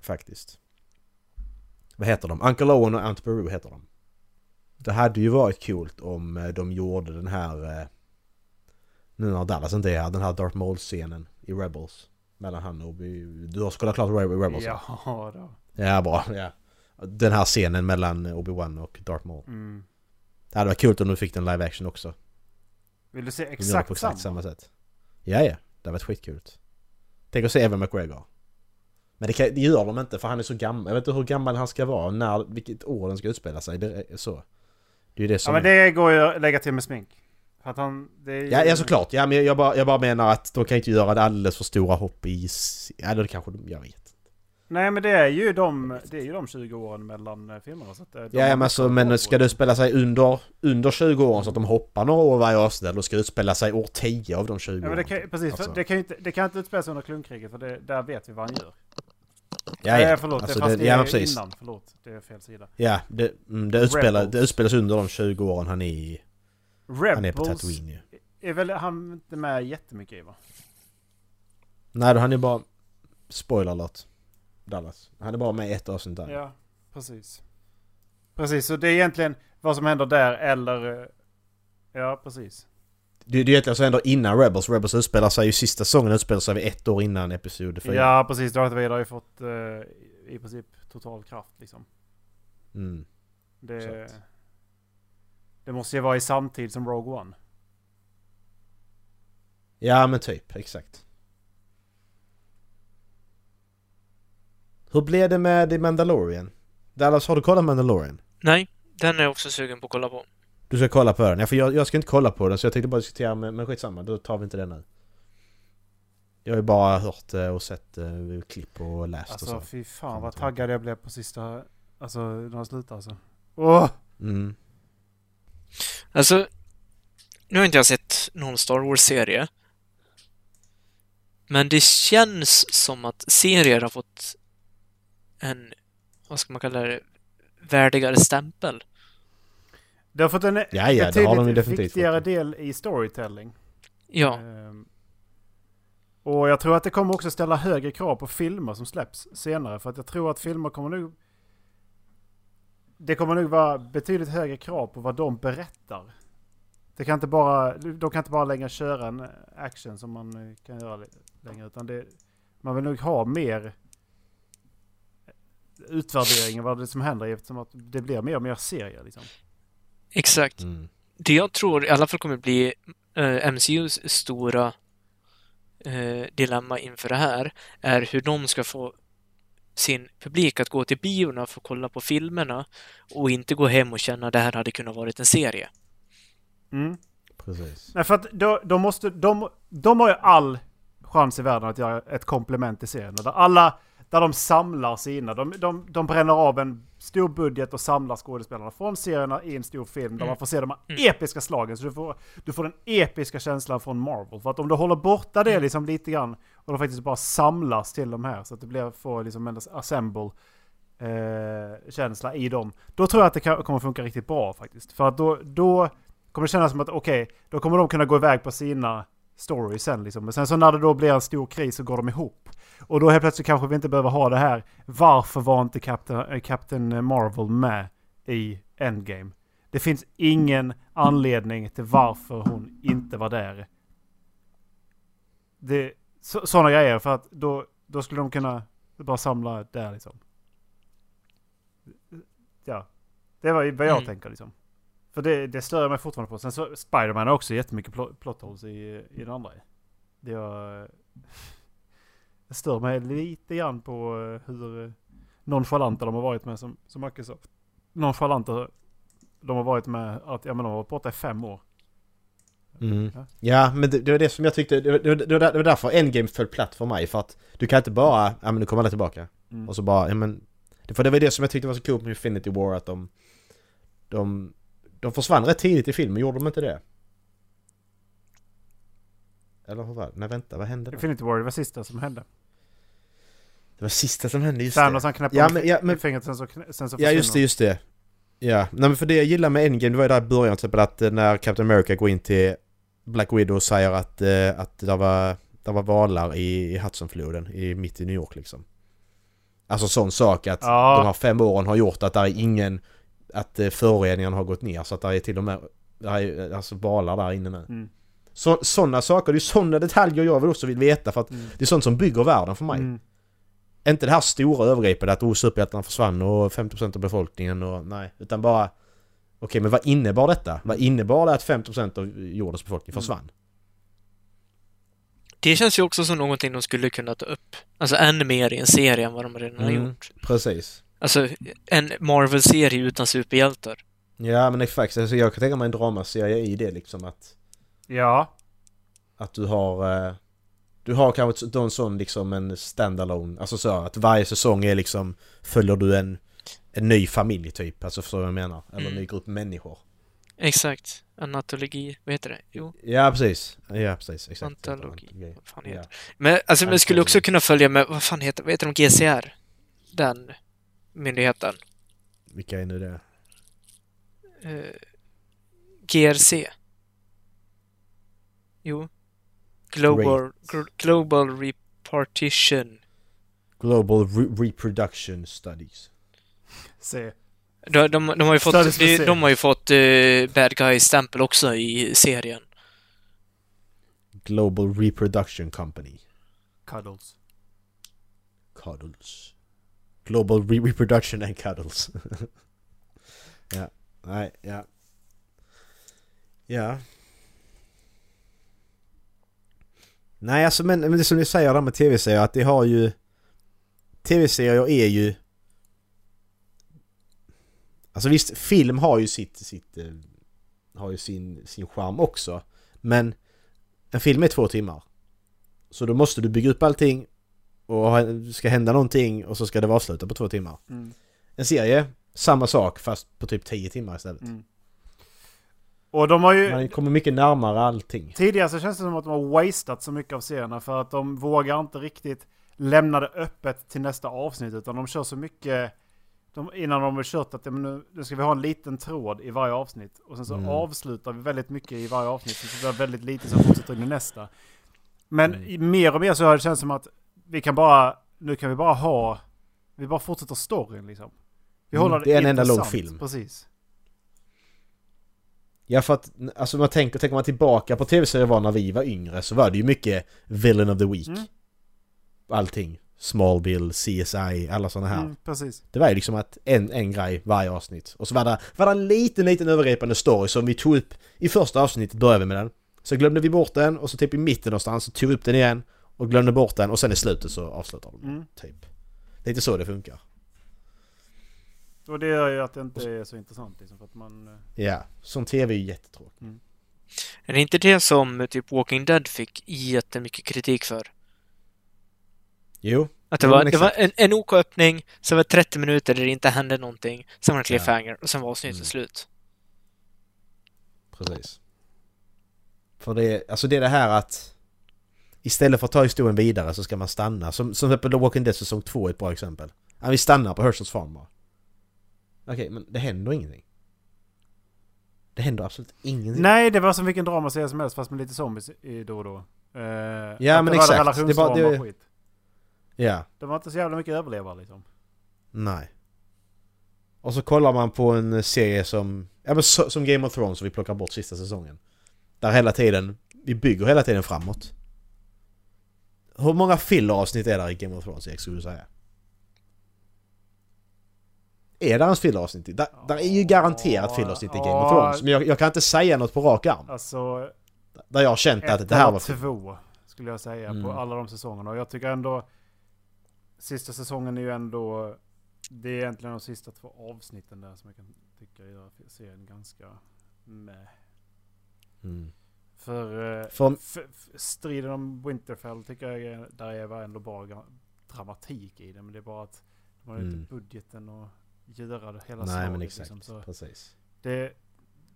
[SPEAKER 5] Faktiskt. Vad heter de? Uncle Owen och Aunt Beru heter de. Det hade ju varit coolt om eh, de gjorde den här... eh, Nu när Dallas inte är här, den här Darth Maul-scenen i Rebels. Mellan han och... Du har kollat klart Re- Rebels? va?
[SPEAKER 4] Ja, då.
[SPEAKER 5] Ja, bra. Ja. Den här scenen mellan Obi-Wan och Darth Maul.
[SPEAKER 4] Mm.
[SPEAKER 5] Det hade varit kul om du fick den live action också.
[SPEAKER 4] Vill du se
[SPEAKER 5] De gör det
[SPEAKER 4] exakt,
[SPEAKER 5] på exakt
[SPEAKER 4] samma?
[SPEAKER 5] samma sätt. Ja, ja. Det hade varit skitkul. Tänk att se Evan McGregor. Men det, kan, det gör de inte för han är så gammal. Jag vet inte hur gammal han ska vara. När, vilket år den ska utspela sig. Det är så. Det är ju det
[SPEAKER 4] Ja,
[SPEAKER 5] som...
[SPEAKER 4] men det går ju att lägga till med smink. För att han... Det är ju...
[SPEAKER 5] Ja, ja såklart. Ja, men jag, bara, jag bara menar att de kan inte göra det alldeles för stora hopp i... s- Eller det kanske de... Jag vet.
[SPEAKER 4] Nej, men det är ju de, det är ju de 20 åren mellan eh, filmerna. Så att eh, de
[SPEAKER 5] Ja,
[SPEAKER 4] har
[SPEAKER 5] ja men, alltså,
[SPEAKER 4] nästan koll på
[SPEAKER 5] men ska
[SPEAKER 4] det.
[SPEAKER 5] det utspela sig under, under 20 år så att de hoppar några år varje avsnitt? Då ska det utspela sig år 10 av de 20 åren.
[SPEAKER 4] Ja, men det kan, precis,
[SPEAKER 5] Alltså.
[SPEAKER 4] för det kan ju inte, det kan inte utspelas under klonkriget för det, där vet vi vad han gör.
[SPEAKER 5] Ja, ja.
[SPEAKER 4] Nej, förlåt,
[SPEAKER 5] Alltså,
[SPEAKER 4] det, fast
[SPEAKER 5] det-
[SPEAKER 4] det,
[SPEAKER 5] ja, men
[SPEAKER 4] är
[SPEAKER 5] precis.
[SPEAKER 4] innan. Förlåt, det är fel sida.
[SPEAKER 5] Ja, det, mm, det, utspelar,
[SPEAKER 4] Rebels.
[SPEAKER 5] det utspelas under de 20 åren han är, i- han är på
[SPEAKER 4] Rebels
[SPEAKER 5] Tatooine ju.
[SPEAKER 4] är väl han inte med jättemycket i va?
[SPEAKER 5] Nej, då han är bara... Spoiler alert. Dallas. Han är bara med i ett avsnitt där.
[SPEAKER 4] Ja, precis. Precis, så det är egentligen vad som händer där eller... eh, Ja, precis.
[SPEAKER 5] Det, det är egentligen så händer innan Rebels. Rebels utspelar sig ju... Sista säsongen utspelar sig vid ett år innan Episod 4.
[SPEAKER 4] Ja, precis. Darth Vader har ju fått eh, i princip total kraft liksom.
[SPEAKER 5] Mm.
[SPEAKER 4] Det,
[SPEAKER 5] Exakt.
[SPEAKER 4] det måste ju vara i samtid som Rogue One.
[SPEAKER 5] ja, men typ. Exakt. Hur blev det med The Mandalorian? Dallas, har du kollat Mandalorian?
[SPEAKER 6] Nej, den är jag också sugen på att kolla på.
[SPEAKER 5] Du ska kolla på den? Ja, för jag, jag ska inte kolla på den så jag tänkte bara diskutera med, men skitsamma, då tar vi inte den nu. Jag har ju bara hört eh, och sett eh, klipp och läst
[SPEAKER 4] Alltså
[SPEAKER 5] och så.
[SPEAKER 4] fy fan
[SPEAKER 5] Fan,
[SPEAKER 4] vad
[SPEAKER 5] tror
[SPEAKER 4] taggad jag blev på sista... Alltså när han slutade alltså. Åh!
[SPEAKER 5] Mm.
[SPEAKER 6] Alltså, nu har inte jag sett någon Star Wars-serie. Men det känns som att serier har fått en, vad ska man kalla det, värdigare stämpel.
[SPEAKER 4] Det har fått en
[SPEAKER 5] Ja, ja, det har de
[SPEAKER 4] betydligt
[SPEAKER 5] ju definitivt
[SPEAKER 4] viktigare
[SPEAKER 5] fått.
[SPEAKER 4] del i storytelling.
[SPEAKER 6] Ja,
[SPEAKER 4] Ehm, Och jag tror att det kommer också ställa högre krav på filmer som släpps senare. För att jag tror att filmer kommer nog... Det kommer nog vara betydligt högre krav på vad de berättar. Det kan inte bara, de kan inte bara längre köra en action som man eh, kan göra li- längre. Utan det, man vill nog ha mer utvärdering av vad det är som händer eftersom att det blir mer och mer serier. Liksom.
[SPEAKER 6] exakt.
[SPEAKER 5] Mm.
[SPEAKER 6] Det jag tror i alla fall kommer bli eh, MCUs stora eh, dilemma inför det här är hur de ska få sin publik att gå till biorna för att kolla på filmerna och inte gå hem och känna att det här hade kunnat varit en serie.
[SPEAKER 4] Mm.
[SPEAKER 5] Precis.
[SPEAKER 4] Nej, för att då, då måste, de, de har ju all chans i världen att göra ett komplement till serien. Där alla, där de samlar sina, de, de, de bränner av en stor budget och samlar skådespelarna från serierna i en stor film där man får se de här episka slagen. Så du får, du får den episka känslan från Marvel. För att om du håller borta det liksom lite grann och de faktiskt bara samlas till de här så att det blir, får liksom en assemble eh, känsla i dem. Då tror jag att det kan, kommer funka riktigt bra faktiskt. För att då, då kommer det kännas som att okej, då kommer de kunna gå iväg på sina stories sen liksom. Men sen så när det då blir en stor kris så går de ihop. Och då helt plötsligt kanske vi inte behöver ha det här. Varför var inte Captain, eh, Captain Marvel med i Endgame? Det finns ingen anledning till varför hon inte var där. Det, så, sådana grejer för att då, då skulle de kunna bara samla där liksom. Ja, det var ju vad jag
[SPEAKER 6] Mm.
[SPEAKER 4] tänker liksom. För det, det stör jag mig fortfarande på. Sen så, Spiderman har också jättemycket pl- plot holes i, i den andra. Det jag... Jag stör mig lite grann på eh, hur eh, nonchalanta de har varit med som, som Microsoft. Nonchalanta de har varit med att, ja men de har varit borta i fem år.
[SPEAKER 5] Mm. Ja, men det, det var det som jag tyckte, det, var- det, var- det, var där- det var därför Endgame föll platt för mig. För att du kan inte bara, ja men nu kommer alla tillbaka.
[SPEAKER 4] Mm.
[SPEAKER 5] Och så bara, ja men... det- För det var det som jag tyckte var så coolt med Infinity War att de... De, de försvann rätt tidigt i filmen, gjorde de inte det? Eller hur var det? Nej vänta, vad hände då?
[SPEAKER 4] Infinity War, det var sista som hände.
[SPEAKER 5] Det var sista som hände, just det.
[SPEAKER 4] Thanos han knäpper
[SPEAKER 5] Ja,
[SPEAKER 4] med
[SPEAKER 5] men- ja, men-
[SPEAKER 4] fingret sen så, knä- sen så
[SPEAKER 5] Ja just det, just det. Ja, nej men för det jag gillar med Endgame, det var ju där i början till exempel att eh, när Captain America går in till Black Widow och säger att, eh, att det var, det var valar i, i Hudsonfloden, i, mitt i New York liksom. Alltså sån sak att
[SPEAKER 4] Ja.
[SPEAKER 5] de här fem åren har gjort att där är ingen, att eh, föroreningarna har gått ner så att där är till och med, där är, eh, alltså valar där inne nu.
[SPEAKER 4] Mm.
[SPEAKER 5] Så, sådana saker, det är sådana detaljer jag vill också vill veta för att
[SPEAKER 4] Mm.
[SPEAKER 5] det är sånt som bygger världen för mig.
[SPEAKER 4] Mm.
[SPEAKER 5] Inte det här stora övergripande att oh, superhjältarna försvann och 50% av befolkningen och nej. Utan bara... Okej, men vad innebar detta? Vad innebar det att 50% av jordens befolkning försvann?
[SPEAKER 6] Det känns ju också som någonting de skulle kunna ta upp. Alltså ännu mer i en serie än vad de redan har
[SPEAKER 5] Mm.
[SPEAKER 6] gjort.
[SPEAKER 5] Precis.
[SPEAKER 6] Alltså, en Marvel-serie utan superhjältar.
[SPEAKER 5] Ja, men exakt. Alltså, jag kan tänka mig en dramaserie i det liksom att...
[SPEAKER 4] Ja,
[SPEAKER 5] Att du har... Eh, du har kanske ett- en sån liksom en standalone. Alltså så att varje säsong är liksom... Följer du en... En ny familj typ. Alltså förstår du vad jag menar? Eller en
[SPEAKER 6] Mm.
[SPEAKER 5] ny grupp människor.
[SPEAKER 6] Exakt. Anatologi. Vad heter det? Jo,
[SPEAKER 5] Ja, precis. Ja, precis. Exakt.
[SPEAKER 6] Antologi. vad fan heter
[SPEAKER 5] Ja.
[SPEAKER 6] det? Men alltså, man skulle också
[SPEAKER 5] Antologi.
[SPEAKER 6] kunna följa med, vad fan heter, vad heter de? GCR? Den myndigheten.
[SPEAKER 5] Vilka är nu det?
[SPEAKER 6] Eh, GRC. Jo. Global, gl- global Repartition.
[SPEAKER 5] Global Re- Reproduction Studies.
[SPEAKER 4] se.
[SPEAKER 6] De, de, de har ju
[SPEAKER 4] Studies
[SPEAKER 6] fått,
[SPEAKER 4] for
[SPEAKER 6] de,
[SPEAKER 4] sale.
[SPEAKER 6] de har ju fått eh, bad guy-stämpel också i serien.
[SPEAKER 5] Global Reproduction Company.
[SPEAKER 4] Cuddles.
[SPEAKER 5] Cuddles. Global Re- Reproduction and Cuddles. ja. Nej, ja. Ja. Nej, alltså men, men det som ni säger där med tv-serier att det har ju... Tv-serier är ju... Alltså visst, film har ju sitt... sitt eh, har ju sin, sin charm också. Men en film är två timmar. Så då måste du bygga upp allting och ha- ska hända någonting och så ska det vara avslutat på två timmar.
[SPEAKER 4] Mm.
[SPEAKER 5] En serie, samma sak fast på typ tio timmar istället.
[SPEAKER 4] Mm. Och de har ju...
[SPEAKER 5] Man kommer mycket närmare allting.
[SPEAKER 4] Tidigare så känns det som att de har wasted så mycket av serierna för att de vågar inte riktigt lämna det öppet till nästa avsnitt utan de kör så mycket de, innan de har kört att ja, men nu, nu ska vi ha en liten tråd i varje avsnitt och sen så
[SPEAKER 5] Mm.
[SPEAKER 4] avslutar vi väldigt mycket i varje avsnitt så det blir väldigt lite som fortsätter in i nästa. Men
[SPEAKER 5] Mm.
[SPEAKER 4] i- mer och mer så har det känts som att vi kan bara, nu kan vi bara ha, vi bara fortsätter storyn liksom. Vi
[SPEAKER 5] Mm,
[SPEAKER 4] håller
[SPEAKER 5] det är en enda lång
[SPEAKER 4] intressant,
[SPEAKER 5] film.
[SPEAKER 4] Precis.
[SPEAKER 5] Ja för att, alltså man tänker, tänker man tillbaka på tv-serier var när vi var yngre så var det ju mycket Villain of the Week.
[SPEAKER 4] Mm.
[SPEAKER 5] Allting. Smallville, CSI, alla sådana här.
[SPEAKER 4] Mm, precis.
[SPEAKER 5] Det var ju liksom att en, en grej varje avsnitt. Och så var det, var det en liten, liten övergripande story som vi tog upp i första avsnittet, började vi med den. Så glömde vi bort den och så typ i mitten någonstans så tog vi upp den igen och glömde bort den och sen i slutet så avslutar de
[SPEAKER 4] Mm.
[SPEAKER 5] typ. Det är inte så det funkar.
[SPEAKER 4] Och det gör ju att det inte är så intressant liksom för att man... eh,
[SPEAKER 5] Ja, som tv är ju jättetråkigt.
[SPEAKER 6] Är det inte det som typ Walking Dead fick jättemycket kritik för?
[SPEAKER 5] Jo,
[SPEAKER 6] Att det
[SPEAKER 5] Jo,
[SPEAKER 6] var,
[SPEAKER 5] men
[SPEAKER 6] det var en, en OK-öppning, sen var det 30 minuter där det inte hände någonting, sen var det
[SPEAKER 5] Ja.
[SPEAKER 6] cliffhanger och sen var avsnittet
[SPEAKER 5] Mm.
[SPEAKER 6] slut.
[SPEAKER 5] precis. För det, alltså det är det här att istället för att ta historien vidare så ska man stanna. Som, som till exempel The Walking Dead säsong 2 är ett bra exempel. Ja, vi stannar på Herschels farm bara. Okej, men det händer ingenting. Det händer absolut ingenting.
[SPEAKER 4] Nej, det var som vilken dramaserie som helst fast med lite zombies i då och då. Eh, att
[SPEAKER 5] men
[SPEAKER 4] det
[SPEAKER 5] exakt.
[SPEAKER 4] Var relationsdrama
[SPEAKER 5] Det var- det-
[SPEAKER 4] och skit.
[SPEAKER 5] Ja,
[SPEAKER 4] det var inte så jävla mycket överlevare liksom.
[SPEAKER 5] nej. Och så kollar man på en serie som, ja men så, som Game of Thrones som vi plockar bort sista säsongen. Där hela tiden, vi bygger hela tiden framåt. Hur många filleravsnitt är där i Game of Thrones Erik, skulle du säga? Är det ens filleravsnitt? Där, där är ju garanterat filleravsnitt i Game of Thrones. Men jag, jag kan inte säga något på rak arm.
[SPEAKER 4] Alltså,
[SPEAKER 5] Där jag har känt att
[SPEAKER 4] ett
[SPEAKER 5] det här
[SPEAKER 4] eller
[SPEAKER 5] var...
[SPEAKER 4] två skulle jag säga på
[SPEAKER 5] Mm.
[SPEAKER 4] alla de säsongerna. Och jag tycker ändå sista säsongen är ju ändå... Det är egentligen de sista två avsnitten där som jag kan tycka gör serien ganska med.
[SPEAKER 5] Mm.
[SPEAKER 4] För, eh,
[SPEAKER 5] För-
[SPEAKER 4] f- f- striden om Winterfell tycker jag är- där är var ändå bra gra- dramatik i det. Men det är bara att de har ju
[SPEAKER 5] Mm.
[SPEAKER 4] inte budgeten och göra det hela
[SPEAKER 5] Nej
[SPEAKER 4] slaget,
[SPEAKER 5] men exakt,
[SPEAKER 4] Liksom, så
[SPEAKER 5] precis.
[SPEAKER 4] det,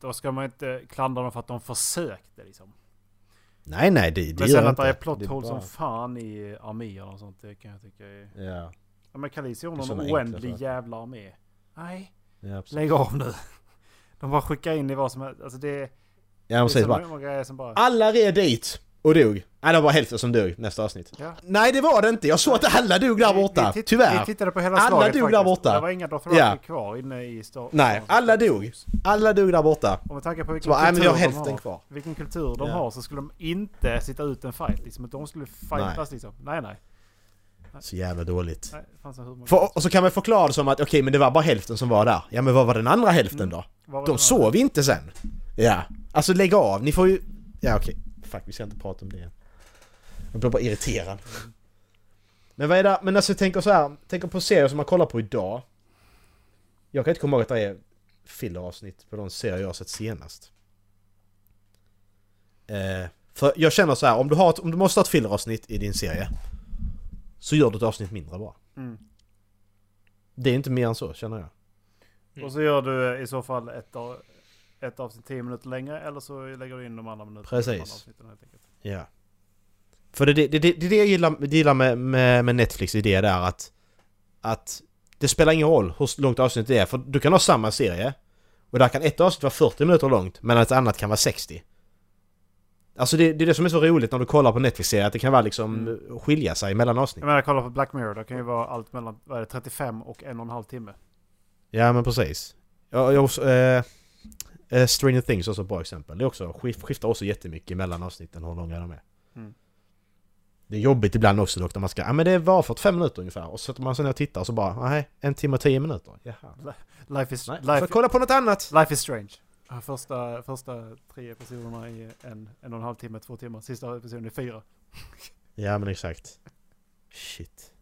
[SPEAKER 4] då ska man inte klandra dem för att de försökte liksom.
[SPEAKER 5] Nej nej det, det
[SPEAKER 4] Men
[SPEAKER 5] gör
[SPEAKER 4] sen
[SPEAKER 5] jag
[SPEAKER 4] att
[SPEAKER 5] inte.
[SPEAKER 4] det är plot
[SPEAKER 5] är
[SPEAKER 4] hole
[SPEAKER 5] bara-
[SPEAKER 4] som fan i arméer och sånt, det kan jag tycka är...
[SPEAKER 5] Ja,
[SPEAKER 4] Ja men Khaleesi har
[SPEAKER 5] Det är
[SPEAKER 4] någon
[SPEAKER 5] såna enkla
[SPEAKER 4] oändlig
[SPEAKER 5] saker.
[SPEAKER 4] jävla armé. Nej,
[SPEAKER 5] ja absolut.
[SPEAKER 4] lägg av nu. De bara skickar in i vad som helst. Alltså det,
[SPEAKER 5] Ja
[SPEAKER 4] det är
[SPEAKER 5] precis
[SPEAKER 4] så
[SPEAKER 5] bara.
[SPEAKER 4] många grejer som bara...
[SPEAKER 5] Alla red dit och dog. Nej det var bara hälften som dog nästa avsnitt.
[SPEAKER 4] Ja.
[SPEAKER 5] Nej det var det inte, jag såg att alla dog där
[SPEAKER 4] Vi-
[SPEAKER 5] borta.
[SPEAKER 4] vi titt-
[SPEAKER 5] Tyvärr.
[SPEAKER 4] Vi tittade på hela
[SPEAKER 5] Alla
[SPEAKER 4] slaget
[SPEAKER 5] dog där
[SPEAKER 4] faktiskt.
[SPEAKER 5] borta.
[SPEAKER 4] Det var inga Dothraki
[SPEAKER 5] Ja.
[SPEAKER 4] kvar inne i Star
[SPEAKER 5] Nej, alla dog. Alla dog där borta.
[SPEAKER 4] Och med tanke på vilken
[SPEAKER 5] Så bara, nej, men
[SPEAKER 4] kultur
[SPEAKER 5] jag har
[SPEAKER 4] de
[SPEAKER 5] hälften kvar.
[SPEAKER 4] Vilken kultur de
[SPEAKER 5] Ja.
[SPEAKER 4] har så skulle de inte sitta ut en fight liksom. Att de skulle fightas
[SPEAKER 5] Nej.
[SPEAKER 4] liksom. Nej nej.
[SPEAKER 5] Så jävla dåligt.
[SPEAKER 4] nej det fanns en hur många-
[SPEAKER 5] För, och så kan man förklara det som att okej men det var bara hälften som var där. Ja men vad var den andra hälften då?
[SPEAKER 4] Vad var
[SPEAKER 5] De
[SPEAKER 4] det?
[SPEAKER 5] sov inte sen. Ja. Alltså lägg av, ni får ju... Ja okej. Fuck vi ska inte prata om det. Jag blir bara irriterad. Men vad är det? Men alltså jag tänker så här. Tänker på serier som man kollar på idag. Jag kan inte komma ihåg att det är filleravsnitt på de serier jag har sett senast. Eh, för jag känner så här, om du, har ett, om du måste ha ett filleravsnitt i din serie. Så gör du ett avsnitt mindre bara.
[SPEAKER 4] Mm.
[SPEAKER 5] Det är inte mer än så känner jag.
[SPEAKER 4] Mm. Och så gör du eh, i så fall ett, av- ett avsnitt 10 minuter längre eller så lägger du in de andra minuterna. i de andra
[SPEAKER 5] Precis.
[SPEAKER 4] avsnitten, helt enkelt.
[SPEAKER 5] Ja. För det är det, det, det, det jag gillar, det gillar med, med, med Netflix idé där att... Att det spelar ingen roll hur långt avsnittet är för du kan ha samma serie. Och där kan ett avsnitt vara 40 minuter långt men ett annat kan vara 60. Alltså det, det är det som är så roligt när du kollar på Netflix-serier att det kan vara liksom skilja sig mellan avsnitt.
[SPEAKER 4] Jag menar kolla på Black Mirror, det kan ju vara allt mellan vad är det, 35 och en och en halv timme.
[SPEAKER 5] Ja men precis. Ja, jag, också, eh, eh, Stranger Things är också ett bra exempel. Det är också, skif- skiftar också jättemycket mellan avsnitten hur långa de är.
[SPEAKER 4] Mm.
[SPEAKER 5] Det är jobbigt ibland också dock när man ska, ja men det var 45 minuter ungefär och så sätter man sig ner och tittar och så bara, nej, en timme och tio minuter. Jaha.
[SPEAKER 4] Life is,
[SPEAKER 5] Nej, får
[SPEAKER 4] life,
[SPEAKER 5] jag kolla på något annat?
[SPEAKER 4] life is strange. Första, första tre episoderna i en, en och en halv timme, två timmar. Sista episoden är fyra.
[SPEAKER 5] Ja men exakt. Shit.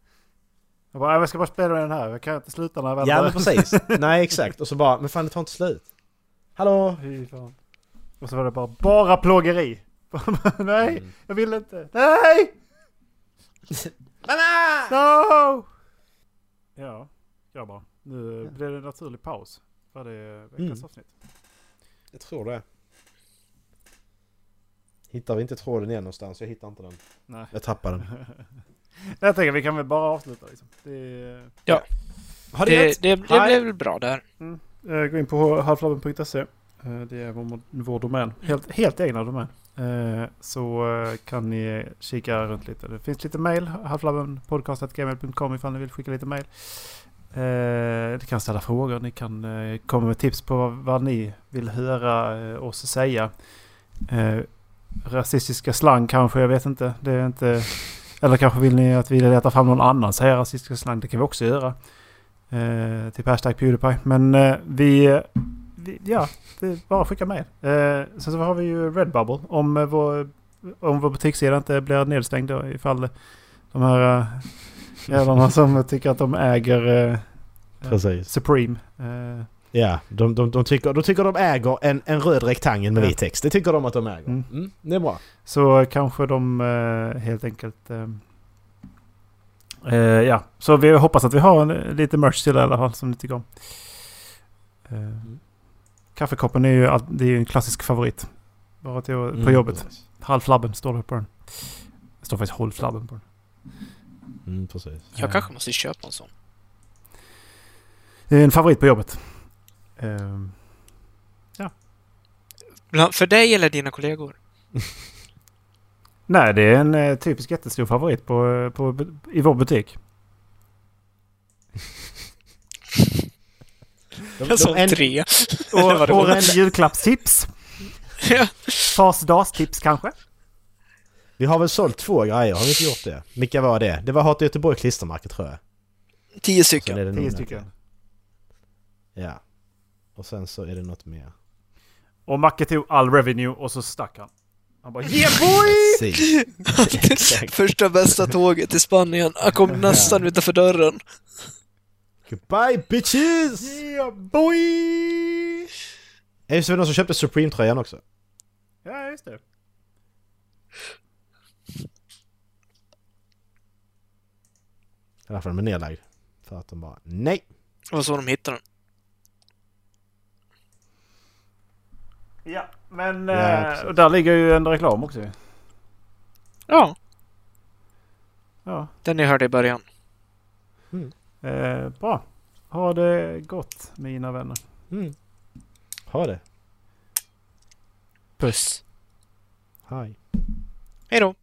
[SPEAKER 4] Jag bara, "Äh, jag ska bara spela med den här, jag kan inte sluta när jag väl
[SPEAKER 5] Ja men
[SPEAKER 4] börjar.
[SPEAKER 5] precis. nej exakt. Och så bara, men fan det tar inte slut. Hallå?
[SPEAKER 4] Fy fan. Och så var det bara, bara plågeri. Nej,
[SPEAKER 5] Mm.
[SPEAKER 4] jag vill inte. Nej! Mamma! No! Ja, grabbar. Nu blev det en naturlig paus. Var det veckans
[SPEAKER 5] Mm.
[SPEAKER 4] avsnitt?
[SPEAKER 5] Jag tror det. Hittar vi inte tråden igen någonstans? Jag hittar inte den.
[SPEAKER 4] Nej.
[SPEAKER 5] Jag tappar den.
[SPEAKER 4] Jag tänker vi kan väl bara avsluta liksom. Det är,
[SPEAKER 5] Har
[SPEAKER 6] Det, det, det
[SPEAKER 5] Nej.
[SPEAKER 6] blev väl bra där.
[SPEAKER 4] eh, gå in på halflabben.se. Eh, Det är vår, vår domän. Helt, helt egna domän. Eh, Så eh, kan ni kika runt lite. Det finns lite mail. Halflabbenpodcast.gmail.com ifall ni vill skicka lite mail. Eh, Ni kan ställa frågor. Ni kan eh, komma med tips på vad, vad ni vill höra eh, oss säga. Eh, Rasistiska slang kanske, jag vet inte. Det är inte... Eller kanske vill ni att vi letar fram någon annan som säger rasistiska slang. Det kan vi också göra. Eh, typ hashtag Pewdiepie. Men eh, vi, vi... Ja, det är bara att skicka med. Eh, sen så har vi ju Redbubble. Om eh, vår, om vår butikssida inte blir nedstängd då, ifall de här eh, jävlarna som tycker att de äger eh,
[SPEAKER 5] Precis.
[SPEAKER 4] Supreme. Eh,
[SPEAKER 5] Ja, de, de, de, tycker, de tycker de äger en, en röd rektangel med
[SPEAKER 4] Ja.
[SPEAKER 5] vit text. Det tycker de att de äger.
[SPEAKER 4] Mm.
[SPEAKER 5] Mm. det är bra.
[SPEAKER 4] så kanske de eh, helt enkelt... Eh, eh, ja, så vi hoppas att vi har en, eh, lite merch till det i alla fall som ni tycker om. Eh,
[SPEAKER 6] Mm.
[SPEAKER 4] Kaffekoppen är ju, all, det är ju en klassisk favorit. Bara till, på
[SPEAKER 5] Mm,
[SPEAKER 4] jobbet.
[SPEAKER 5] precis.
[SPEAKER 4] Halvflabben står det på den. Det står faktiskt hållflabben på den.
[SPEAKER 5] Mm, precis.
[SPEAKER 6] Jag kanske måste köpa en sån.
[SPEAKER 4] Det är en favorit på jobbet. Ehm,
[SPEAKER 6] Bland- För dig eller dina kollegor?
[SPEAKER 4] nej, det är en eh, typisk jättestor favorit på, eh, på, i vår butik.
[SPEAKER 5] De,
[SPEAKER 6] Jag sa
[SPEAKER 5] en-
[SPEAKER 6] tre.
[SPEAKER 4] Och,
[SPEAKER 6] Vad roligt.
[SPEAKER 4] årets julklappstips.
[SPEAKER 6] Ja.
[SPEAKER 4] Farsdagstips kanske.
[SPEAKER 5] vi har väl sålt två grejer, har vi inte gjort det? Vilka var det? Det var Hata Göteborg klistermärke tror jag.
[SPEAKER 6] Tio
[SPEAKER 5] Sen
[SPEAKER 6] stycken.
[SPEAKER 5] är det
[SPEAKER 4] Tio
[SPEAKER 5] någon-
[SPEAKER 4] stycken.
[SPEAKER 5] Ja. Och sen så är det något mer.
[SPEAKER 4] Och Macke tog all revenue och så stack han. Han bara yeah boy!
[SPEAKER 5] Si.
[SPEAKER 6] Första bästa tåget till Spanien. Han kom nästan utanför dörren.
[SPEAKER 5] Goodbye bitches!
[SPEAKER 4] Yeah boy!
[SPEAKER 5] Är det så någon som köpte Supreme-tröjan också?
[SPEAKER 4] Ja, just det.
[SPEAKER 5] Det är därför den är nedlagd. För att de bara nej.
[SPEAKER 6] Det var så de hittade den.
[SPEAKER 4] Ja, men
[SPEAKER 5] Ja,
[SPEAKER 4] eh,
[SPEAKER 5] precis.
[SPEAKER 4] och där ligger ju en reklam också ju.
[SPEAKER 6] Ja,
[SPEAKER 4] Ja,
[SPEAKER 6] den ni hörde i början.
[SPEAKER 4] eh, bra. Ha det gott mina vänner.
[SPEAKER 5] Mm. Ha det.
[SPEAKER 6] Puss.
[SPEAKER 5] Hej.
[SPEAKER 6] Hej då.